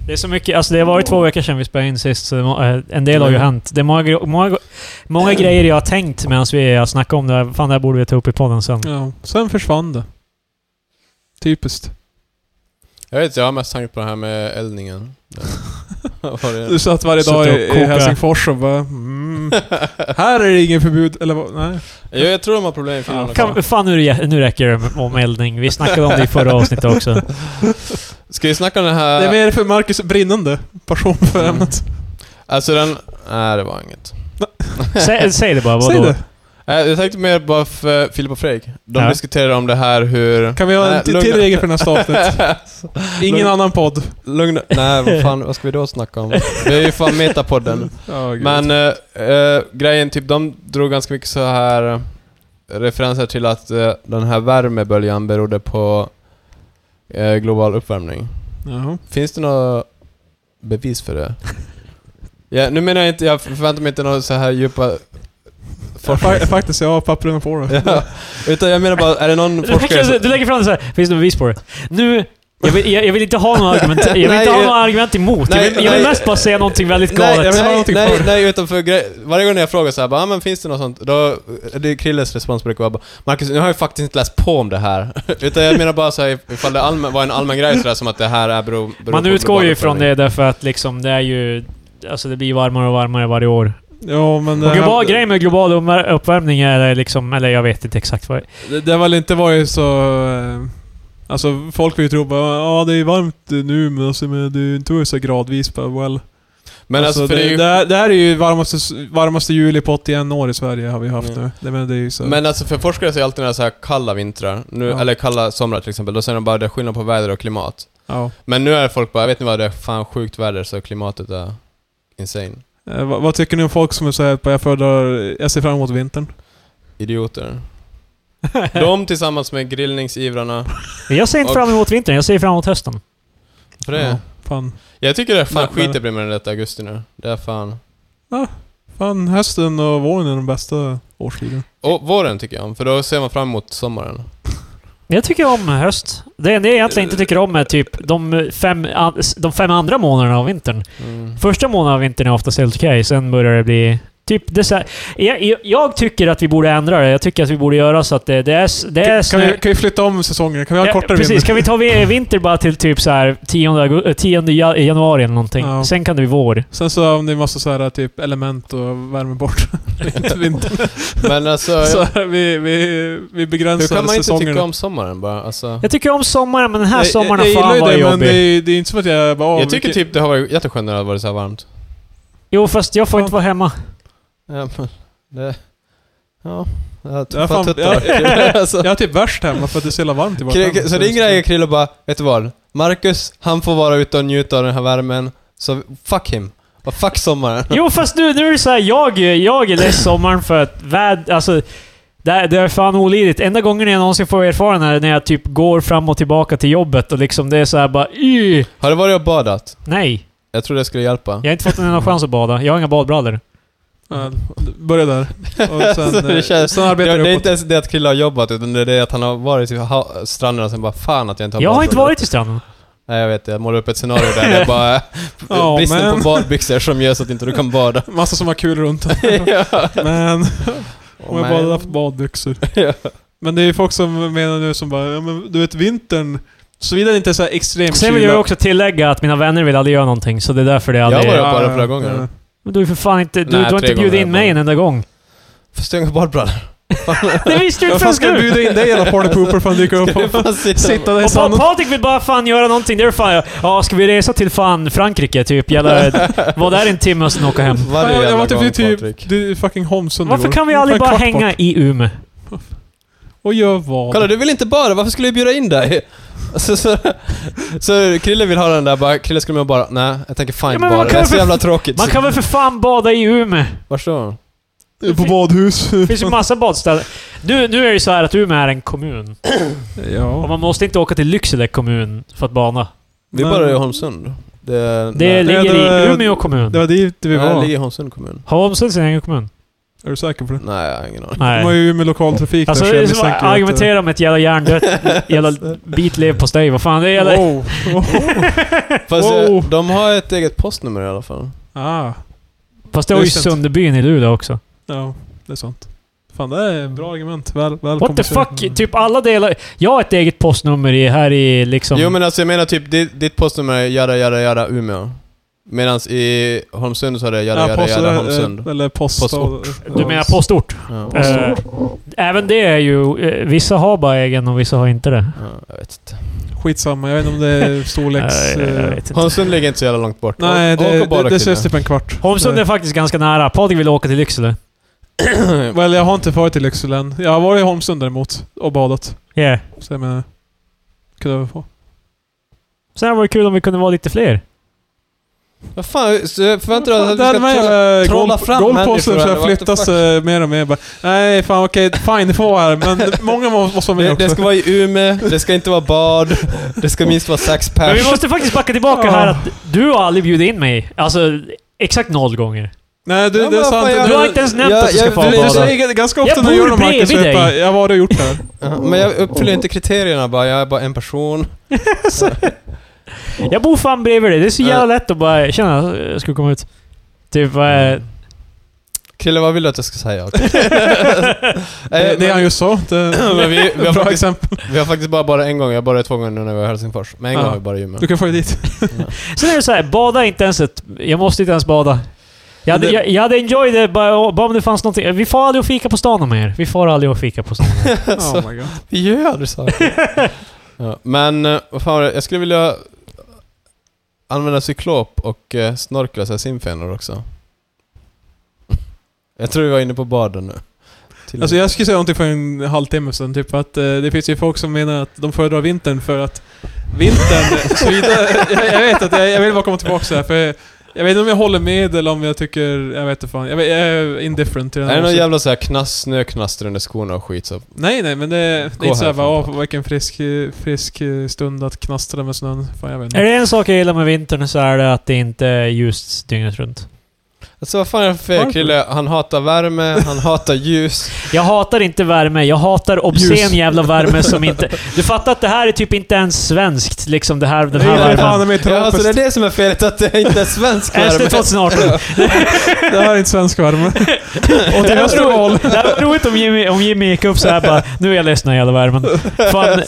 Det är så mycket, alltså det har varit två veckor sedan vi spelade in sist, så det må- eh, en del har Mm. ju hänt. Det är många, gre- många, många grejer jag har tänkt medan vi har snackat om det här. Fan, det här borde vi ta upp i podden sen. Ja. Sen försvann det. Typiskt. Jag vet inte, jag har mest tanke på det här med eldningen. [laughs] Vad var det? Du satt varje Suttit dag och i, i kokat. Helsingfors och bara mm, Här är det ingen förbud, eller vad? Nej. Ja, jag tror de har problem i Finland Ja, också. Kan, fan, nu, rä- nu räcker det med- om eldning. Vi snackade om det [laughs] i förra avsnittet också. Ska vi snacka om den här... Det är mer för Marcus brinnande passion för Mm. ämnet. Alltså den... Nej, det var inget. [laughs] Säg, säg det bara, vadå? [laughs] Säg det. Eh, Jag tänkte mer bara för Filip och Fredrik. De Ja. diskuterade om det här hur... Kan vi ha Nej, en till lugna- till [laughs] regel för nästa avsnitt? Ingen Lugna- annan podd. Lugna... Nej, vad fan, vad ska vi då snacka om? Vi är ju fan [laughs] Metapodden. Ja, gud. Men eh, eh, grejen, typ de drog ganska mycket så här eh, referenser till att eh, den här värmeböljan berodde på eh, global uppvärmning. Jaha. Finns det några bevis för [laughs] det? ja, nu menar jag inte, jag förväntar mig inte några så här djupa... [laughs] Ja, fa- Faktiskt, jag har pappren på det. Ja, utan jag menar bara, är det någon Du forskare lägger, du lägger fram det så här. finns det bevis på det? Nu, jag vill, jag, jag vill inte ha några argument, jag vill Nej, inte ha jag- några argument emot. jag, vill, Nej, jag vill nej. mest bara säga någonting väldigt Nej, galet. jag vill ha Nej, någonting nej, för Nej, utan för grej, varje gång jag frågar så här, bara, ah, men finns det något sånt? Då, det är Krilles respons brukar vara bara, Marcus, nu har jag faktiskt inte läst på om det här. [laughs] utan jag menar bara så här, ifall det allmän, var en allmän grej sådär som att det här är beror, beror Man på utgår global ju från uppvärmning. det därför att liksom, det är ju... Alltså det blir varmare och varmare varje år. Ja, men eh, det, Och global, det, grejen med global uppvär- uppvärmning är liksom... Eller jag vet inte exakt vad... det, har väl inte varit så... eh, Alltså folk vill ju tro bara ja det är varmt nu men alltså men det är ju inte så gradvis bara well. Men alltså, för det, är det, ju, det, här, det här är ju varmaste, varmaste juli på 81 år i Sverige har vi haft Mm. nu. Det, men det är ju så. men alltså för forskare så är alltid när det är så här kalla vintrar, nu, Ja. eller kalla somrar till exempel, då säger de bara det är skillnad på väder och klimat. ja. Men nu är folk bara, vet ni vad, det är fan sjukt väder så klimatet är insane. Eh, vad, vad tycker ni om folk som säger att jag föredrar, jag ser fram emot vintern? [laughs] Idioter. De tillsammans med grillningsivrarna. Jag ser inte Och- fram emot vintern, jag ser fram emot hösten. För det. Ja, fan. Jag tycker det är fan Nej, men- skit det blir med den rätta augusti nu. Det är fan... Fan, hösten och våren är de bästa årstiderna. Och våren tycker jag om, för då ser man fram emot sommaren. Jag tycker om höst. Det enda jag egentligen inte tycker om är typ de fem, an- de fem andra månaderna av vintern. Mm. Första månaden av vintern är oftast helt okej, sen börjar det bli... Typ dessert. Jag, jag, jag tycker att vi borde ändra det. Jag tycker att vi borde göra så att det, det är... s- Det är Kan, kan, snö- vi, kan vi flytta om säsongen? Kan vi ha en Ja, kortare Precis, vinter? kan vi ta vi- vinter bara till typ så här 10, augu- 10 ja- januari eller någonting. Ja. Sen kan det bli vår. Sen så om det är massa så här typ element och värme bort [laughs] vintern. Men alltså, [laughs] Så jag, här, vi, vi, vi hur begränsar kan man inte tycka säsongerna. om sommaren bara? Alltså, Jag tycker om sommaren, men den här Jag- sommaren jag, jag fan gillar var ju det, men jobbig. det är, det är inte som att jag bara... åh, jag tycker vilken- typ det har varit jätteskönt när det har varit så här varmt. Jo, fast jag får Ja. inte vara hemma. Ja, men det... Ja, jag Ja, tror fan, fan tuttar. [laughs] jag- Alltså. Jag är typ värst hemma för att det är så jävla varmt i vårt Kri- hem. Så din grej är Krille och bara, vet du vad? Marcus, han får vara ute och njuta av den här värmen. Så fuck him. Och fuck sommaren. [laughs] Jo, fast nu, nu är det så här, jag, jag är less sommaren för att väd, alltså, det, är- det är fan olidligt. Enda gången jag någonsin får erfara det här är när jag typ går fram och tillbaka till jobbet och liksom det är så här bara "Y, Har du varit och badat? Nej. Jag tror det skulle hjälpa. Jag har inte fått en enda chans att bada. Jag har inga badbrallor. Ja, börja där. Och sen, [laughs] Så det eh, känns- sen Det, arbetar det du är uppåt. inte ens det att Krille har jobbat, utan det är det att han har varit i ha- stranden och sen bara fan att jag inte har Jag har badbrallor." inte varit i stranden. Nej jag vet, jag målar upp ett scenario där det är bara [laughs] Ja, bristen men- på badbyxor som gör så att inte du kan [laughs] bada. Massa som har kul runt [laughs] Men, om jag bara haft badbyxor. Ja. Men det är ju folk som menar nu som bara, ja, men du vet vintern, såvida det inte är så här extrem Sen vill jag också tillägga att mina vänner vill aldrig göra någonting, så det är därför det aldrig... Jag var är... bara på det flera gånger. ja. Men Du är för fan inte... Du, Nej, du har tre inte bjudit gånger in mig en enda [laughs] gång. Fast jag har inga badbrallor. Det visste du inte Vad fan förrän ska jag nu! bjuda in dig alla party pooper för att dyka upp och Fan, sitta- sitta där Och i pa sanden? Patrik vill bara fan göra någonting. Det är fan... Ja, ska vi resa till fan Frankrike typ? [laughs] Jävla... Var där en timme och sen åka hem. Varje Ja, jag jävla var typ gång i typ, Patrik. det är fucking Holmsund Varför igår. kan vi aldrig En bara kvart hänga bort. i Umeå? Och gör vad? Kolla du vill inte bada, varför skulle jag bjuda in dig? [laughs] Så, så, så Krille vill ha den där, bara, Krille skulle man bara, nej jag tänker fan Ja, inte men man bada, det kan är väl så för- jävla tråkigt. Man kan väl för fan bada i Umeå? Varsågod. På [laughs] badhus. Det [laughs] finns ju massa badställen. Nu, nu är det ju så här att Umeå är en kommun. Och ja. man måste inte åka till Lycksele kommun för att bada. Vi Men- badade i Holmsund. Det, Det nej. Nej, ligger det- i Umeå kommun. Det var dit vi Nej, det ligger var. i Holmsund kommun. Har Holmsund sin egen kommun? Är du säker på det? Nej, jag har ingen aning. De har Nej. ju med lokaltrafik Alltså, där, det är jag som att misstänker att- argumentera om ett jävla [laughs] hjärndött, [laughs] jävla bit leverpastej. Vad fan, det är jävla... Wow. Fast Wow. eh, de har ett eget postnummer i alla fall. ah, [laughs] Fast det var ju Just det. Sunderbyn i Luleå också. ja. Det är sant. Fan, det är en bra argument. Väl, väl What the kompenserat. fuck? Typ alla delar... Jag har ett eget postnummer i, här i liksom... Jo men alltså jag menar typ, ditt, ditt postnummer är jada jada jada Umeå. Medan i Holmsund så är det jada jada post- jada eh, Holmsund. Eller post... eh, Postort. Du menar postort? Ja. Eh, även det är ju... Eh, vissa har bara egen och vissa har inte det. Ja, jag vet inte. Skitsamma, jag vet inte om det [laughs] är storleks... Eh, jag eh, vet inte. Holmsund ligger inte så jävla långt bort. Nej, Åk- det, åk och bada, det, det ses Krille. typ en kvart. Holmsund är faktiskt ganska nära. Patrik vill åka till Lycksele. [clears throat] Well, jag har inte varit i Lycksele än. Jag har varit i Holmsund däremot och badat. Yeah. Så jag menar... Kunde jag få. Sen vore det kul om vi kunde vara lite fler. Vad fan, så jag förväntar dig att Där du de ska trolla... här eh, trolla golf- fram golfpåsen människor, så eller här what the flyttas fuck? eh, mer och mer. Bara, Nej, fan okej, fine, ni får vara här. [laughs] Men många må- måste vara med Det, också. det ska vara i Umeå, det ska inte vara bad, det ska minst vara sex Men vi pers. måste faktiskt backa tillbaka Ja. här att du har aldrig bjudit in mig. Alltså, exakt noll gånger. Nej, det, Ja, det är men sant. vad fan, Du har inte ens nämnt Jag- att du ska jag- få du, du, bada. säger ganska Jag ofta när jag bor gör något Marcus, bredvid jag bara, dig. jag har varit och gjort det här. Ja, Men jag uppfyller inte kriterierna bara, jag är bara en person. Jag bor fan bredvid dig. Det är så jävla lätt att bara känna jag skulle komma ut. Typ... Eh, Krille, vad vill du att jag ska säga? Okej. [laughs] [laughs] Det, Nej, det han just sa. Det [clears throat] Men [laughs] vi- vi har bra faktiskt- exempel. Vi har faktiskt bara bara en gång, jag bara två gånger nu när vi var i Helsingfors. Men en Ja. gång har vi bara i Umeå. Du kan [laughs] följa dit. sen är det så här, bada är inte ens ett... Jag måste inte ens bada. Jag hade, Men det- jag, jag hade enjoyed det bara, bara om det fanns någonting. Vi får aldrig och fika på stan om er. Vi får aldrig och fika på stan. [laughs] Så- Oh my God. Vi gör ju aldrig saker. [laughs] ja. Men eh, vad fan var det? Jag skulle vilja använda cyklop och eh, snorkla så här simfenor också. [laughs] Jag tror vi var inne på baden nu. Till- Alltså jag skulle säga någonting för en halvtimme sedan, typ att eh, det finns ju folk som menar att de föredrar vintern för att [laughs] vintern, så vidare, jag, jag vet att jag, jag vill bara komma tillbaka så här, för jag, jag vet inte om jag håller med eller om jag tycker, jag vet inte fan, jag, vet- jag är indifferent till den Är det någon åsikten. jävla så här knas, snöknaster under skorna och skit så... Nej nej men det, det Gå är inte såhär härifrån, bara, tack. åh vilken frisk, eh, frisk eh, stund att knastra med snön. Fan jag vet är inte. det en sak jag gillar med vintern så är det att det inte är ljust dygnet runt. Alltså vad fan är det för fel? Varför? Krille, han hatar värme, han hatar ljus. Jag hatar inte värme. Jag hatar obscen Ljus. jävla värme som inte... Du fattar att det här är typ inte ens svenskt, liksom det här, [laughs] den här Nej, värmen. fan, värmen. det är mer Ja, alltså det är tropiskt. det som är felet, att det inte är svensk SD värme. 2018. Det här är inte svensk värme. Och till Det nästa var val. roligt, det var roligt om Jimmy, om Jimmy gick upp såhär bara Nu är jag ledsen av jävla värmen. Fan,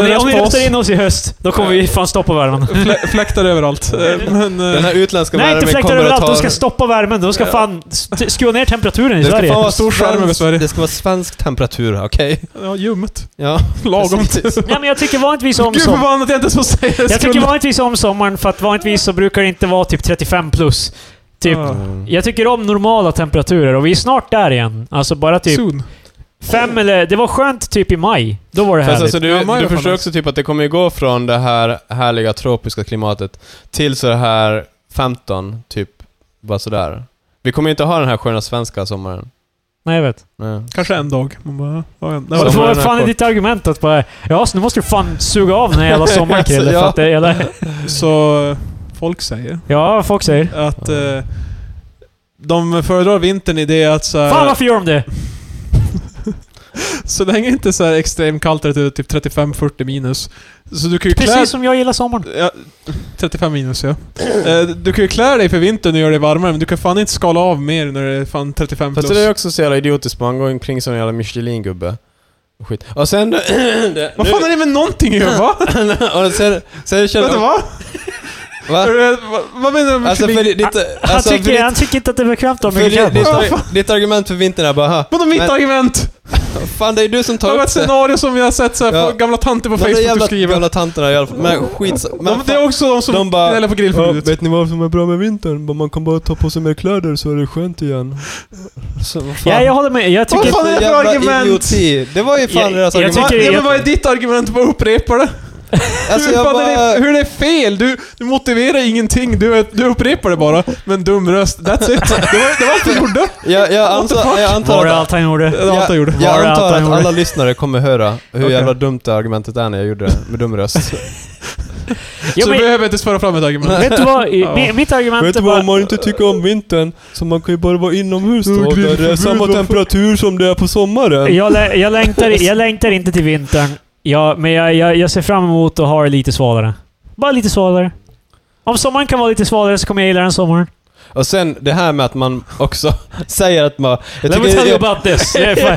om ni, om ni röstar in oss i höst, då kommer vi fan stoppa värmen. Flä- Fläktar överallt. Eh, Men, eh, [laughs] Den här utländska Nej, inte värmen fläktar kommer att överallt. ta... De ska stoppa värmen. De ska fan st- skruva ner temperaturen i Det ska Sverige. fan vara Stor skärm över svensk- Sverige. Det ska vara svensk temperatur här, okej? ja, ljummet. Ja. [laughs] Lagom. Precis. Nej, men jag tycker vanligtvis om Gud som, förbannat att jag inte ens får säga det. Jag tycker vanligtvis om sommaren, för att vanligtvis så brukar det inte vara typ 35 plus. Typ. Ja. Jag tycker om normala temperaturer och vi är snart där igen. Alltså bara typ Soon. fem eller... Det var skönt typ i maj. Då var det Fast härligt. alltså, du, Ja, man du gör fan förstår det. också typ att det kommer ju gå från det här härliga tropiska klimatet till så här 15, typ bara sådär. Vi kommer ju inte ha den här sköna svenska sommaren. Nej, jag vet. Nej. Kanske en dag. Man bara, ja, en- Så- Vad Sommaren vad är fan är kort. ditt argument [laughs] att bara... Ja, så nu måste du fan suga av den här jävla sommaren Krille, Ja. för att det är jävla... Så eh, folk säger. Ja, folk säger. Att eh, de föredrar vintern i det att så här, Fan varför gör de det? Så länge inte så här extremkallt är det typ 35-40 minus. Så du kan ju klä... Precis som jag gillar sommaren. Ja, 35 minus ja. Eh, Du kan ju klä dig för vintern och göra dig varmare, men du kan fan inte skala av mer när det är fan 35 plus. Fast det är också så jävla idiotiskt, man går omkring som en jävla Michelin-gubbe. Och Skit. Och sen... [clears throat] det, Vad fan är det med någonting [laughs] i det, va? och sen, sen känner Vänta, va? Va? Eh, va- Vad menar du med Alltså för Michelin? ditt... Han, Alltså för tycker, ditt... han tycker inte att det är bekvämt om För ditt, mycket ditt, Vad ditt, argument för vintern är bara "Ha, Vadå mitt Men- argument? Fan det är du som Det tar var ett upp det. scenario som vi har sett så här, Ja. på gamla tanter på De där Facebook jävla, skriver. jävla tanterna i alla fall. Men skit de, men det är också de som de bara- gnäller på Ja, grillförbudet. vet ni vad som är bra med vintern? Bara Man kan bara ta på sig mer kläder så är det skönt igen. Så, vad fan. Ja, jag håller med. Jag tycker... Vad fan är det för Jävla argument? Idioti. Det var ju fan Jag- deras jag argument. tycker- ja, men vad är ditt argument? Bara upprepa det. Alltså hur, jag fan är bara... det, hur är det fel? Du, du motiverar ingenting, du, är- du upprepar det bara. Men dum röst, that's it. [laughs] Det var, det var allt du gjorde. Jag, jag, What the antar, fuck? jag Var antar det att... allt han gjorde? Det var allt jag gjorde. Var Jag det allt antar han att gjorde? alla lyssnare kommer höra hur Okej. jävla dumt det argumentet är när jag gjorde det med dum röst. Jo, så du men, behöver inte föra fram ett argument. [laughs] vet du vad? Ja. Mi- Mitt argument är bara... inte tycker om vintern så man kan ju bara vara inomhus då, där det är samma temperatur som det är på sommaren. Jag, lä- jag, längtar, jag längtar inte till vintern. Ja, men jag, jag, jag ser fram emot att ha det lite svalare. Bara lite svalare. Om sommaren kan vara lite svalare så kommer jag gilla den sommaren. Och sen det här med att man också [laughs] säger att man... Jag Let me tycker, tell you jag, about this. Det [laughs] är fan-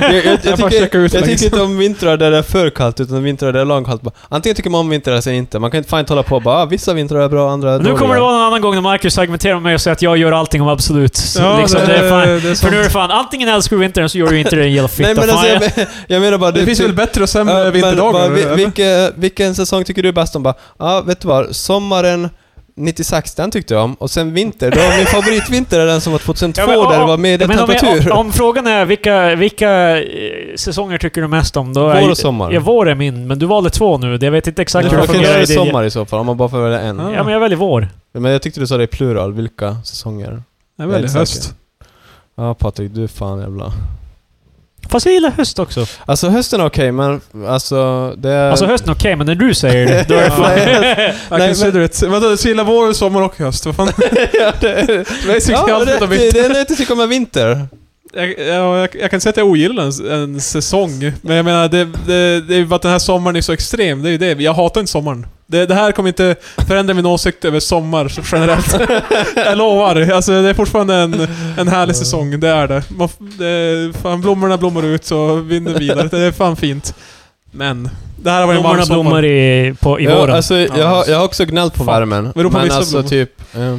jag, jag, jag, Jag bara tycker, checkar ut liksom. jag längs. tycker inte om vintrar där det är för kallt utan vintrar där det är långkallt. Antingen tycker man om vintrar eller så inte. Man kan inte fan inte hålla på och bara ah, vissa vintrar är bra, andra är Nu dåliga. kommer det vara någon annan gång när Marcus argumenterar med mig och säger att jag gör allting om absolut. Så Ja, liksom, det, är fan, det är för nu är det fan, sant. antingen älskar du vintern så gör du inte det, jävla fitta. Nej men fan, alltså jag- jag, men- jag menar bara... Det finns väl bättre och typ- eh, Ja, sämre men vinterdagar? bara, vi- eller? vilke, vilken säsong tycker du är bäst om? Bara, ja, vet du vad? Sommaren 96, den tyckte jag om. Och sen vinter, då min favoritvinter är den som var 2002 Ja, men, där det om- var med men om, temperatur. jag, om, om frågan är vilka, vilka eh, säsonger tycker du mest om? Då är, Vår och sommar. Ja, vår är min, men du valde två nu. Jag vet inte exakt Okej, hur det okay, då fungerar. är i det din- sommar i så fall, om man bara får välja en. Ja, men jag väljer vår. Men jag tyckte du sa det i plural, vilka säsonger? Nej, väl, Jag är höst. säker. Ja Patrik, du är fan jävla... Fast jag gillar höst också. Alltså hösten är okej, men alltså det är... Alltså hösten är okej, men när du säger det, då är det [laughs] Ja. fan... I [laughs] Nej, Nej, consider it. Vänta, du gillar vår, sommar och höst? Vad fan? [laughs] ja, det är... Basically Ja, allt det, utom det, vinter. det är inte tycker om är vinter. Jag, jag, jag, jag kan säga att jag ogillar en, en säsong, men jag menar det, det, det är ju bara att den här sommaren är så extrem, det är ju det. Jag hatar inte sommaren. Det, det här kommer inte förändra min åsikt över sommar [laughs] generellt. jag lovar. Alltså det är fortfarande en, en härlig säsong, det är det. Man, f- det fan, blommorna blommar ut så vinden vilar. Det är fan fint. Men, det här var en varm Blommorna sommar. blommar i, på, i Ja, våren. alltså, jag, har, jag har också gnällt på Fan. värmen. Vadå på Men vissa alltså blommor? typ... ja.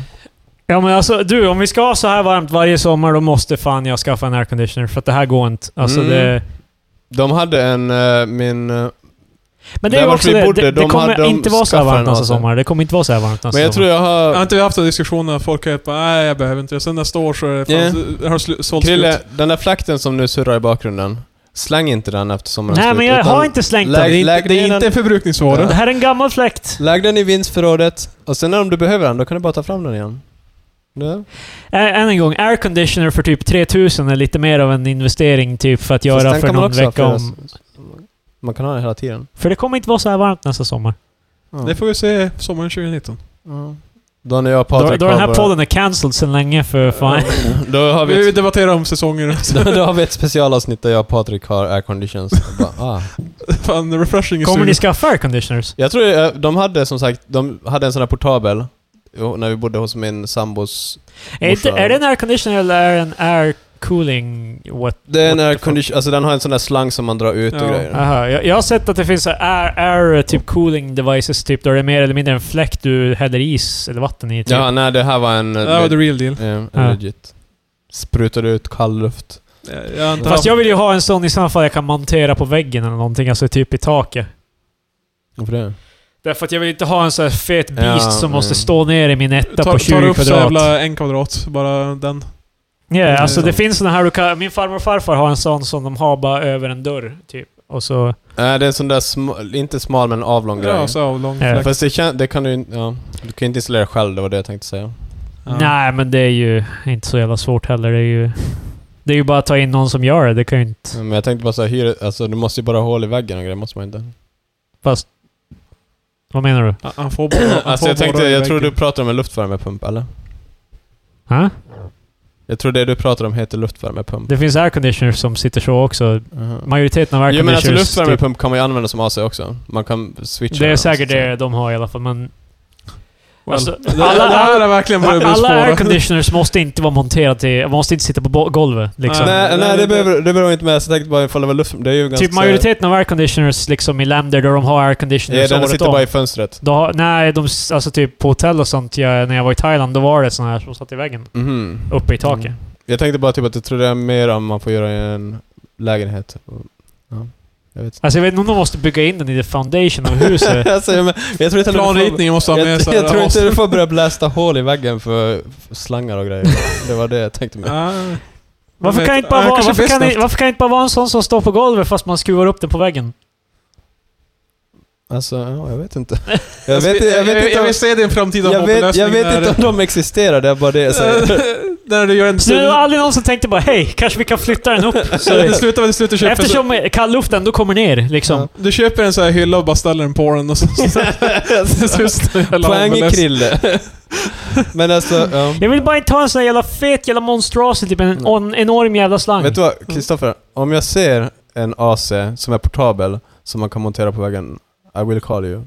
Ja men alltså du, om vi ska ha så här varmt varje sommar då måste fan jag skaffa en airconditioner för att det här går inte. Alltså Mm. det... De hade en, eh, min... eh, Men det Där är ju vart också vi det, bodde, det, de det kommer hade- de inte vara så här skaffade varmt en nästa AC. sommar. Det kommer inte vara så här varmt nästa Men jag tror sommar. jag Har har... inte vi haft en diskussion när folk har helt bara nej jag behöver inte det. Sen nästa år så är det fan, har sl- sålt Krille, slut. den där flakten som nu surrar i bakgrunden. Släng inte den efter sommarens Nej slut, men jag utan har inte slängt Lägg- den. Det är inte, lägg det ner är inte den. en förbrukningsvara. Det här är en gammal fläkt. Lägg den i vinstförrådet och sen om du behöver den, då kan du bara ta fram den igen. Ja. Ä- Än en gång, airconditioner för typ 3000 är lite mer av en investering typ för att Fast göra den för kan man någon också ha vecka flera om. s- Man kan ha den hela tiden. För det kommer inte vara så här varmt nästa sommar. Ja. Det får vi se sommaren 2019. Ja. Då när jag och Då, Patrik då den här har podden är cancelled sedan länge för fan. våra- [laughs] Då har vi Vi ett, debatterar om säsonger. [laughs] då, då har vi ett specialavsnitt där jag och Patrik har [laughs] airconditions. Och bara, Ah. Fan, refreshing i Kommer studion. ni skaffa airconditioners? Jag tror eh, de hade som sagt, de hade en sån här portabel. jo, När vi bodde hos min sambos Är, inte, morsa. är det en airconditioner eller är det en air cooling what? Det är en What the air fuck? condition, alltså den har en sån där slang som man drar ut och Ja. grejer. Aha, jag, jag har sett att det finns så här air, air typ cooling devices typ där det är mer eller mindre en fläkt du häller is eller vatten i. Typ. Ja, nej det här var en... Det här var the real deal. eh, en Ja. legit. Sprutade ut kall luft. Jag- Jag har inte Fast haft- jag vill ju ha en sån i så fall jag kan montera på väggen eller någonting, alltså typ i taket. Varför det? Därför att jag vill inte ha en sån här fet beast Ja, som måste mm. stå ner i min etta tar, på tar 20 upp så kvadrat. Ja, jävla en kvadrat, bara den. alltså det Mm. finns såna här du kan, Min farmor och farfar har en sån som de har bara över en dörr, typ. Och så... Nej, det är en sån där, sm- inte smal men avlång grej. Ja, så avlång Ja. fläkt. Fast det, kan, det kan du ju- ja, Du kan ju inte installera själv, det var det jag tänkte säga. Ja. Nej, men det är ju inte så jävla svårt heller. Det är ju... Det är ju bara att ta in någon som gör det. Det kan ju inte... Men [coughs] jag tänkte bara såhär, hyra, alltså du måste ju bara ha hål i väggen och grejer, måste man inte? Fast... Vad menar du? Han- Han får bara... Han Alltså får jag tänkte, borra i jag tror du väggen. pratar om en luftvärmepump eller? Hä? Jag tror det du pratar om heter luftvärmepump. Det finns airconditioners som sitter så också. Majoriteten av Jo men alltså airconditioners... typ- luftvärmepump kan man ju använda som AC också. Man kan switcha. det är den, säkert så att det de har i alla fall, men... Well, Alltså, det- alla- det här är verkligen börjat bli Alla spåra. airconditioners måste inte vara monterade till... Måste inte sitta på bo- golvet liksom. säga. Nej, Nej, nej det, det- behöver, det beror inte med. Så jag tänkte bara ifall det var luft... Det är ju ganska... Typ majoriteten av airconditioners liksom i länder där de har Ja, airconditioners den året sitter om. bara i fönstret. Då, har- nej, de, s- alltså typ på hotell och sånt, jag, när jag var i Thailand, då var det såna här som satt i väggen. Mhm. Uppe i taket. Mm. Jag tänkte bara typ att jag tror det är mer om man får göra i en lägenhet. Ja, jag vet Alltså jag vet inte om de måste bygga in den i the foundation av [laughs] huset. inte. alltså, jag, men, jag tror inte heller du får- Planritningen måste ha Jag, med jag, sig... tror inte du får [laughs] börja blästa hål i väggen för för slangar och [laughs] grejer. Det var det jag tänkte med. Ja. Varför Jag kan, vet- inte bara ja, vara, kanske varför, kan, bäst det- varför kan det inte bara vara en sån som står på golvet fast man skruvar upp den på väggen? Alltså, ja, jag vet [laughs] inte. Jag vet, jag jag, vet inte om, vill se din framtida jag vet, jag mobblösning vet inte om de existerar, det är bara det jag säger. [laughs] när du gör en... Så det var aldrig någon som tänkte bara hej, kanske vi kan flytta den upp? Så det Så, slutar med att du slutar köpa... eftersom eh, kallluften då kommer ner liksom. Du köper en sån här hylla och bara ställer den på den och så... så- så- så- så- jävla Poäng i ambulans. Krille. Men alltså, ja. Jag vill bara inte ha en sån här jävla fet jävla monstrosity, typ en, en enorm jävla slang. Vet du vad, Kristoffer? Om jag ser en AC som är portabel, som man kan montera på väggen, I will call you.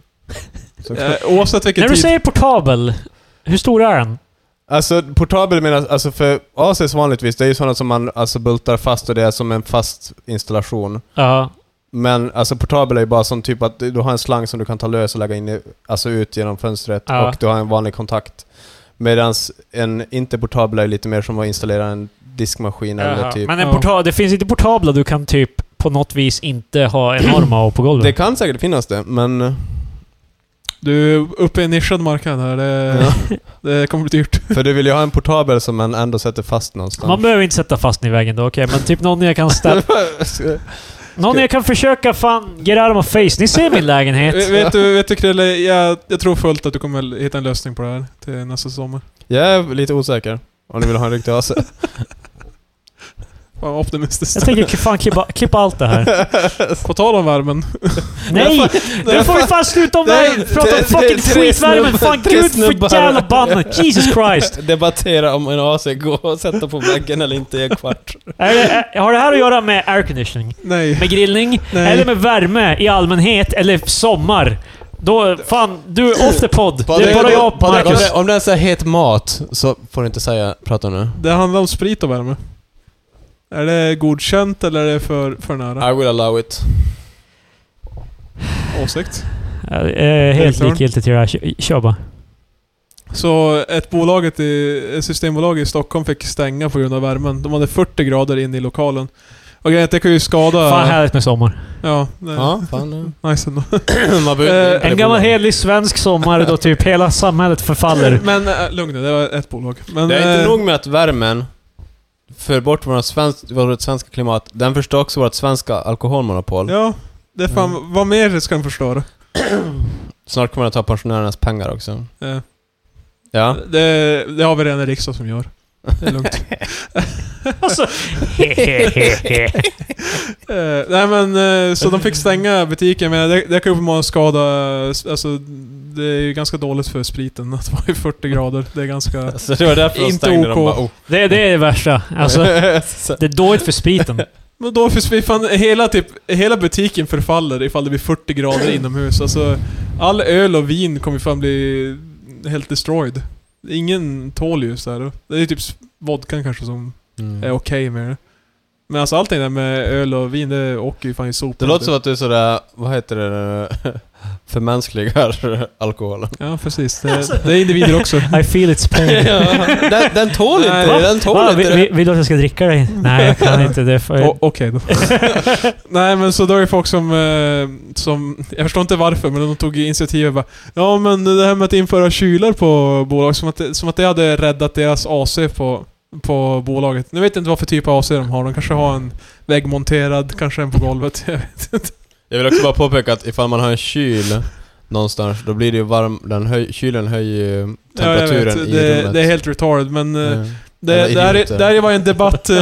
Så, Eh, Oavsett vilken När Typ- tid... du säger portabel, hur stor är den? Alltså portabel menas, alltså för ACs vanligtvis, det är ju sådana som man alltså bultar fast och det är som en fast installation. Ja. Men alltså portabel är ju bara som typ att du du har en slang som du kan ta lös och lägga in i, alltså ut genom fönstret Ja. och du har en vanlig kontakt. Medan en inte portabel är ju lite mer som att installera en diskmaskin eller Jaha. typ... Men en Ja. porta- det finns inte portabla du kan typ på något vis inte ha enorma och på golvet. Eh. Det kan säkert finnas det, men... Du är uppe i en nischad marknad här. Det, det kommer bli dyrt. För du vill ju ha en portabel som man ändå sätter fast någonstans. Man behöver inte sätta fast den i väggen då, okej. Men typ någon jag kan ställa... någon jag kan försöka fan get out of my face. Ni ser [laughs] min lägenhet. vet, du, vet du Krille, jag, jag tror fullt att du kommer hitta en lösning på det här till nästa sommar. [laughs] jag är lite osäker om du vill ha en riktig AC. Fan vad Jag optimistiskt. tänker fan klippa, klippa allt [laughs] det här. På tal om värmen. Nej! Nu får vi fan sluta om det är- värmen! Prata om det är- fucking det är tre skitvärmen! Fan snubbar- gud tre snubbar. för jävla banne! [laughs] Jesus Christ! Debattera om en AC går att sätta på väggen eller inte i en kvart. Är det, är, har det här att göra med airconditioning? Nej. Med grillning? Nej. Eller med värme i allmänhet? Eller sommar? Då, fan, du är off the pod. Det är bara jag och om, Marcus. det, om det är så här het mat så får du inte säga prata nu. Det handlar om sprit och värme. Är det godkänt eller är det för, för nära? I will allow it. Åsikt. Jag är helt Är det likgiltigt till det här. Kö- Kör bara. Så ett bolaget i, ett systembolag i Stockholm fick stänga på grund av värmen. De hade 40 grader inne i lokalen. Och grejen är att det kan ju skada... Fan härligt med sommar. Ja, det, Ja, fan. nice ändå. [clears throat] Man Eh, En gammal helig svensk sommar då typ hela [laughs] samhället förfaller. [laughs] Men äh, lugn nu, det var ett bolag. Men, Det är eh, inte nog med att värmen för bort vårt svensk, vårt svenska klimat, den förstör också vårt svenska alkoholmonopol. Ja, det är fan, vad mer ska de förstöra? Snart kommer den att ta pensionärernas pengar också. Eh, Ja. det, det har vi redan en riksdag som gör. Det är lugnt. Alltså, hehehehe. Eh, nej men, eh, så de fick stänga butiken, men det, det kan ju uppenbarligen skada... Alltså, det är ju ganska dåligt för spriten att vara i 40 grader. Det är ganska... Så det var därför de Inte stängde dem OK. bara oh. det, det är det värsta. Alltså, [laughs] Så- det är dåligt för spriten. Men då finns vi fan, hela, typ, hela butiken förfaller ifall det blir 40 grader inomhus. Alltså, all öl och vin kommer fan bli helt destroyed. Ingen tål ju så här. Det är ju typ vodkan kanske som är okej Mm. med det. Men alltså allting där med öl och vin, det åker ju fan i Det soporna. låter som att du är sådär, vad heter det, [laughs] förmänskligar [laughs] alkoholen. Ja, precis. Det, det är individer också. Alltså- [laughs] I feel it's pain. den, den tål inte Nej. det, den tål Va, inte vill, det. vill du att jag ska dricka dig? Nej, jag kan inte. Det är O- för... Okej då. [laughs] Nej men så då är det folk som, eh, som... Jag förstår inte varför, men de tog initiativet bara Ja men det här med att införa kylar på bolag, som att, det- som att det hade räddat deras AC på, på bolaget. Nu vet jag inte vad för typ av AC de har. De kanske har en väggmonterad, kanske en på golvet. [laughs] Jag vet. Jag vill också bara påpeka att ifall man har en kyl någonstans, då blir det ju varm, den höj, kylen höjer ju Ja, jag temperaturen vet. i Det, rummet. Mm. det är helt retard, men... eh, Ja. Det, Jävla det, här, idioter. är- det här var ju en debatt, eh,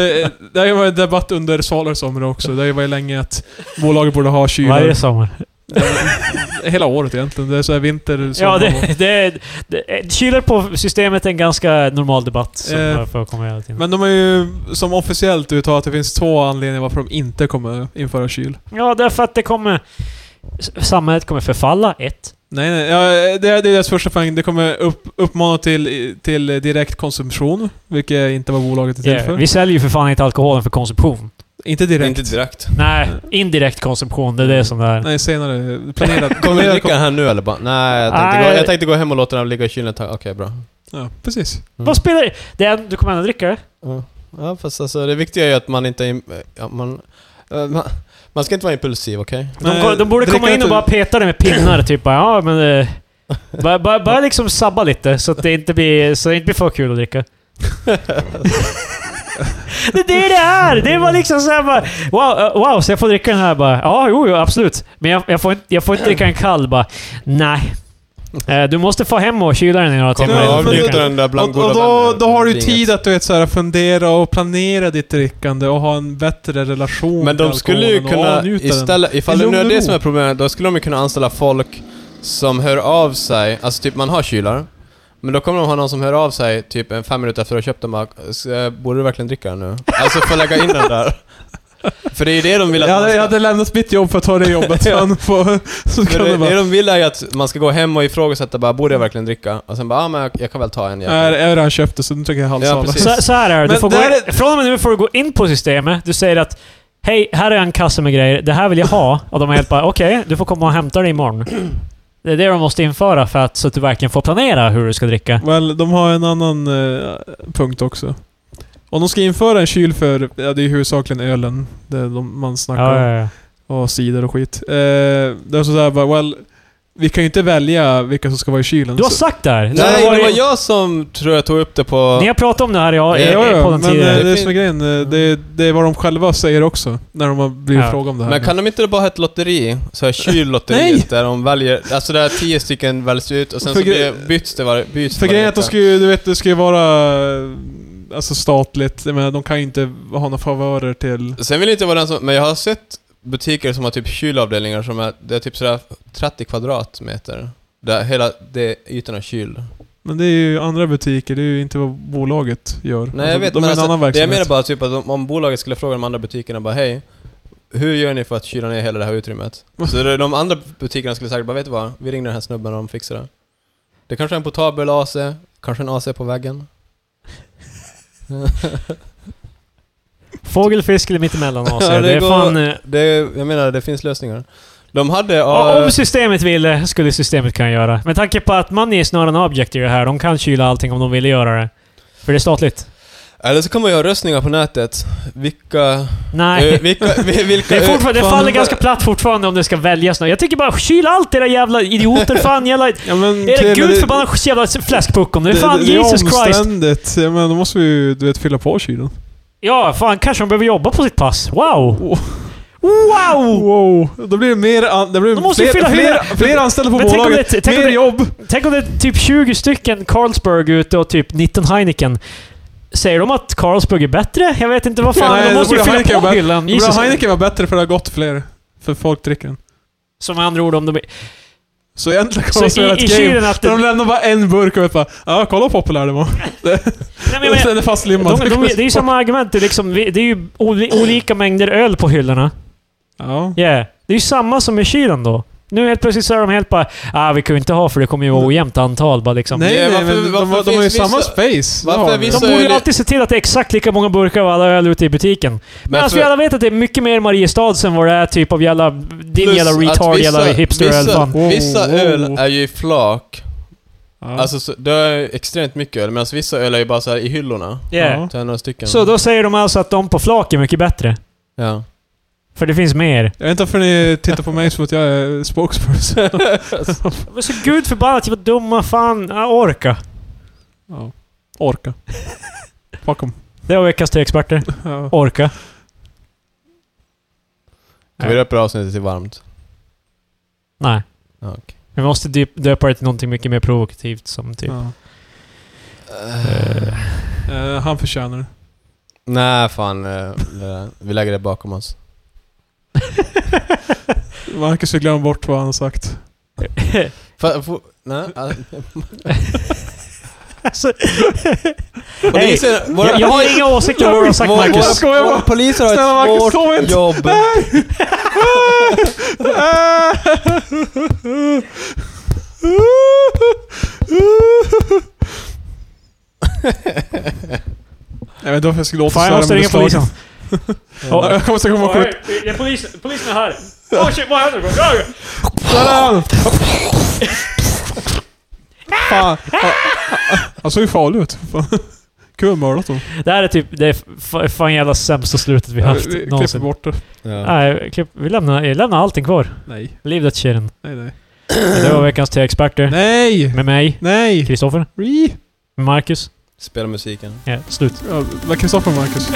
det här var en debatt under Salers somrar också. Det var ju länge att bolaget borde ha kylar. Varje sommar. Hela året egentligen. Det är så här vinter, sommar Ja, vår. det, [laughs] det, det eh, kyler på systemet en ganska normal debatt som Eh, eh, förekommer hela tiden. Men de har ju som officiellt uttalat att det finns två anledningar varför de inte kommer införa kyl. ja, därför att det kommer... s- Samhället kommer förfalla, ett. Nej, nej. Ja, det, är- det är deras första poäng. Det kommer upp, uppmana till, till direkt konsumtion, vilket inte var bolaget är till Eh, för. Vi säljer ju för fan inte alkoholen för konsumtion. Inte direkt. Inte direkt. Nej, indirekt konsumtion. Det är det som det är. Nej, senare. Kommer du [laughs] Planerat. [laughs] planerat dricka den här nu eller? Bara, nej, jag tänkte, Nej. Gå, jag tänkte gå hem och låta den ligga i kylen ett tag. Okej, bra. Ja, precis. Vad spelar det? det? är- Du kommer ändå dricka det? Mm. Ja, fast alltså det viktiga är ju att man inte... är im- Ja, man, eh, man, man ska inte vara impulsiv, okej? De, ko- de borde dricka komma in och inte- bara peta det med pinnar, typ bara, ja men... eh, Bara, bara, bara liksom sabba lite så att det inte blir, så det inte blir för kul att dricka. det är det det är! Det är bara liksom såhär bara... Wow, eh, wow, så jag får dricka den här bara? Ja, jo, jo, absolut. Men jag, jag, får, inte, jag får inte dricka en kall bara. Nej. Eh, Du måste få hem och kyla den i några Kommer timmar. innan du men- dricker avnjuta den. den där bland Och, goda och då, vänner. då har du Inget. tid att du vet, så här, fundera och planera ditt drickande och ha en bättre relation Men de till skulle ju alkoholen och kunna avnjuta den. istället, ifall I det nu är lugn och det ro. som är problemet, då skulle de ju kunna anställa folk som hör av sig, alltså typ man har kylar, men då kommer de ha någon som hör av sig typ en fem minuter efter att ha köpt den bara "S- eh, Borde du verkligen dricka den nu? Alltså för att lägga in den där. För det är ju det de vill att jag, man hade, ska... jag hade lämnat mitt jobb för att ta det [laughs] jobbet. men på, så för kan det, det det vara. de vill är ju att man ska gå hem och ifrågasätta bara, borde jag verkligen dricka? Och sen bara, ah, men jag, jag kan väl ta en Jag har jävla. redan köpt det, så nu tänker jag halsa Ja, alla. precis. [laughs] Så, så här är det. Du Men får gå där in, från och med nu får du gå in på systemet. Du säger att Hej, här är en kasse med grejer. Det här vill jag ha. Och de är helt bara okej, du får komma och hämta det imorgon. [clears throat] Det är det de måste införa för att, så att du verkligen får planera hur du ska dricka. Well, de har en annan eh, punkt också. Om de ska införa en kyl för, ja det är ju huvudsakligen ölen det är de, man snackar om. Ja, ja, ja. och cider och skit. Eh, det är sådär bara, well, vi kan ju inte välja vilka som ska vara i kylen. Du har så- sagt det här! Så Nej, har det var varit- jag som tror jag tog upp det på... Ni har pratat om det här i, Ja, i, Ja, i ja, podden men eh, det tidigare. är Det det som fin- är grejen. Eh, Det, det är vad de själva säger också, när de har blivit Ja. frågade om det här. Men kan de inte bara ha ett lotteri? Så här Mm. [laughs] Nej! kyllotteri där de väljer, alltså där tio stycken väljs ut och sen För så gre- blir- byts det var, byts För varje grejen är att de vecka. ska ju, du vet, det ska ju vara eh, alltså statligt. Jag menar, de kan ju inte ha några favörer till... Sen vill jag inte vara den som, men jag har sett butiker som har typ kylavdelningar som är, det är typ sådär 30 kvadratmeter. Där hela det ytan är kyld. Mm. Men det är ju andra butiker, det är ju inte vad bolaget gör. Nej jag vet, de men är en alltså, annan det jag menar verksamhet. bara typ att om, om bolaget skulle fråga de andra butikerna bara hej, hur gör ni för att kyla ner hela det här utrymmet? Mm. Så det- de andra butikerna skulle säkert bara, vet du vad? Vi ringer den här snubben och de fixar det. Det kanske är en portabel AC, kanske en AC på väggen. Fågel, fisk eller mittemellan AC. Ja, det, det är går- fan... eh, Det, jag menar, det finns lösningar. De hade... Ja, eh, om systemet ville skulle systemet kunna göra. Med tanke på att money är snarare en object i det här. De kan kyla allting om de ville göra det. För det är statligt. eller så kommer jag göra röstningar på nätet. Vilka... Nej. eh, [laughs] vilka, vi- vilka Det, är fortfarande, det fan- faller ganska platt fortfarande om det ska väljas något. Jag tycker bara kyl allt era jävla idioter. [laughs] Fan jävla... Ja, men, Är det till- gud förbannat jävla fläskpuck om det? Fan det, det Jesus är Christ. omständigt. Jag menar, då måste vi ju, du vet, fylla på kylen. Ja, fan kanske de behöver jobba på sitt pass. Wow! Oh. Wow! Wow! Då blir det mer an, det blir De måste ju fler, fylla fler, hela- fler anställda på Men tänk om bolaget. det- tänk om mer det- jobb! Tänk om det är typ 20 stycken Carlsberg ute och typ 19 Heineken. Säger de att Carlsberg är bättre? Jag vet inte vad fan. Nej, de då måste ju borde Heineken fylla på vara- hyllan. Borde Jesus. Heineken var bättre för det har gått fler. För folk dricker den. Som med andra ord, om de... Så egentligen kan Så man i, spela i ett game. kylen att... Där de lämnar bara en burk och vet bara ja, kolla vad populär det var. Nej, men jag [laughs] Sen är menar- det fastlimmad. de, de, [laughs] det är ju samma argument. Det är, liksom, vi- det är ju oli, olika mängder öl på hyllorna. Ja. Yeah. Det är ju samma som i kylen då. Nu helt plötsligt så är de helt bara ah, vi kan ju inte ha för det kommer ju vara ojämnt antal bara liksom. Nej, Nej, nej, varför- men varför de, de har ju finns samma vissa- space. varför Det har finns de så De är borde ju det- alltid se till att det är exakt lika många burkar av alla öl ute i butiken. Men för- alltså vi alla vet att det är mycket mer i Mariestad än vad det är typ av jävla... Din plus jävla att retard, vissa- jävla hipster Oh, vissa, fan. Wow, vissa wow. öl är ju i flak. Ja. Alltså, så, det är extremt mycket öl, medan vissa öl är ju bara så här i hyllorna. Yeah. Ja. Så här några stycken. Så då säger de alltså att de på flak är mycket bättre. Ja. För det finns mer. Jag vet inte varför ni tittar på mig som att jag är spokesperson. [laughs] Men så gud förbannat, vad dumma fan. Jag orkar. ja. Orka. Fuck 'em. Det var veckans tre experter. Ja. Orka. Kan vi döpa det här avsnittet till varmt? Nej. Ja, okej. Vi måste dyp- döpa det till någonting mycket mer provokativt som typ... Ja. eh, Eh, han förtjänar det. Nej, fan. eh, det där. Vi lägger det bakom oss. Marcus har glömt bort vad han har sagt. Fa- få- [laughs] nej, ah. Alltså, Polisen, våra, jag, [laughs] jag har inga åsikter om vad du har sagt våra, Marcus. Ska jag våra, våra bara- poliser har Snälla, ett Marcus, sov svårt inte. jobb. Jag vet inte varför jag skulle Fan, återstöra jag måste ringa polisen. Ja, jag kommer säkert komma skjut. polisen, polisen är här. Åh shit, vad händer? Där [laughs] är han! Fan. Han- Han såg ju farlig ut. Fan. Kul mördat hon. Det här är typ det är f- fan jävla sämsta slutet vi har haft Vi klipper någonsin. bort det. Ja. Nej, klipp, vi lämnar, vi lämnar allting kvar. Nej. Leave that shit in. Nej, nej. Det var veckans tre experter. Nej! Med mig, Nej! Kristoffer, Re. med Marcus. Spela musiken. Ja, slut. Ja, det var Kristoffer och Marcus.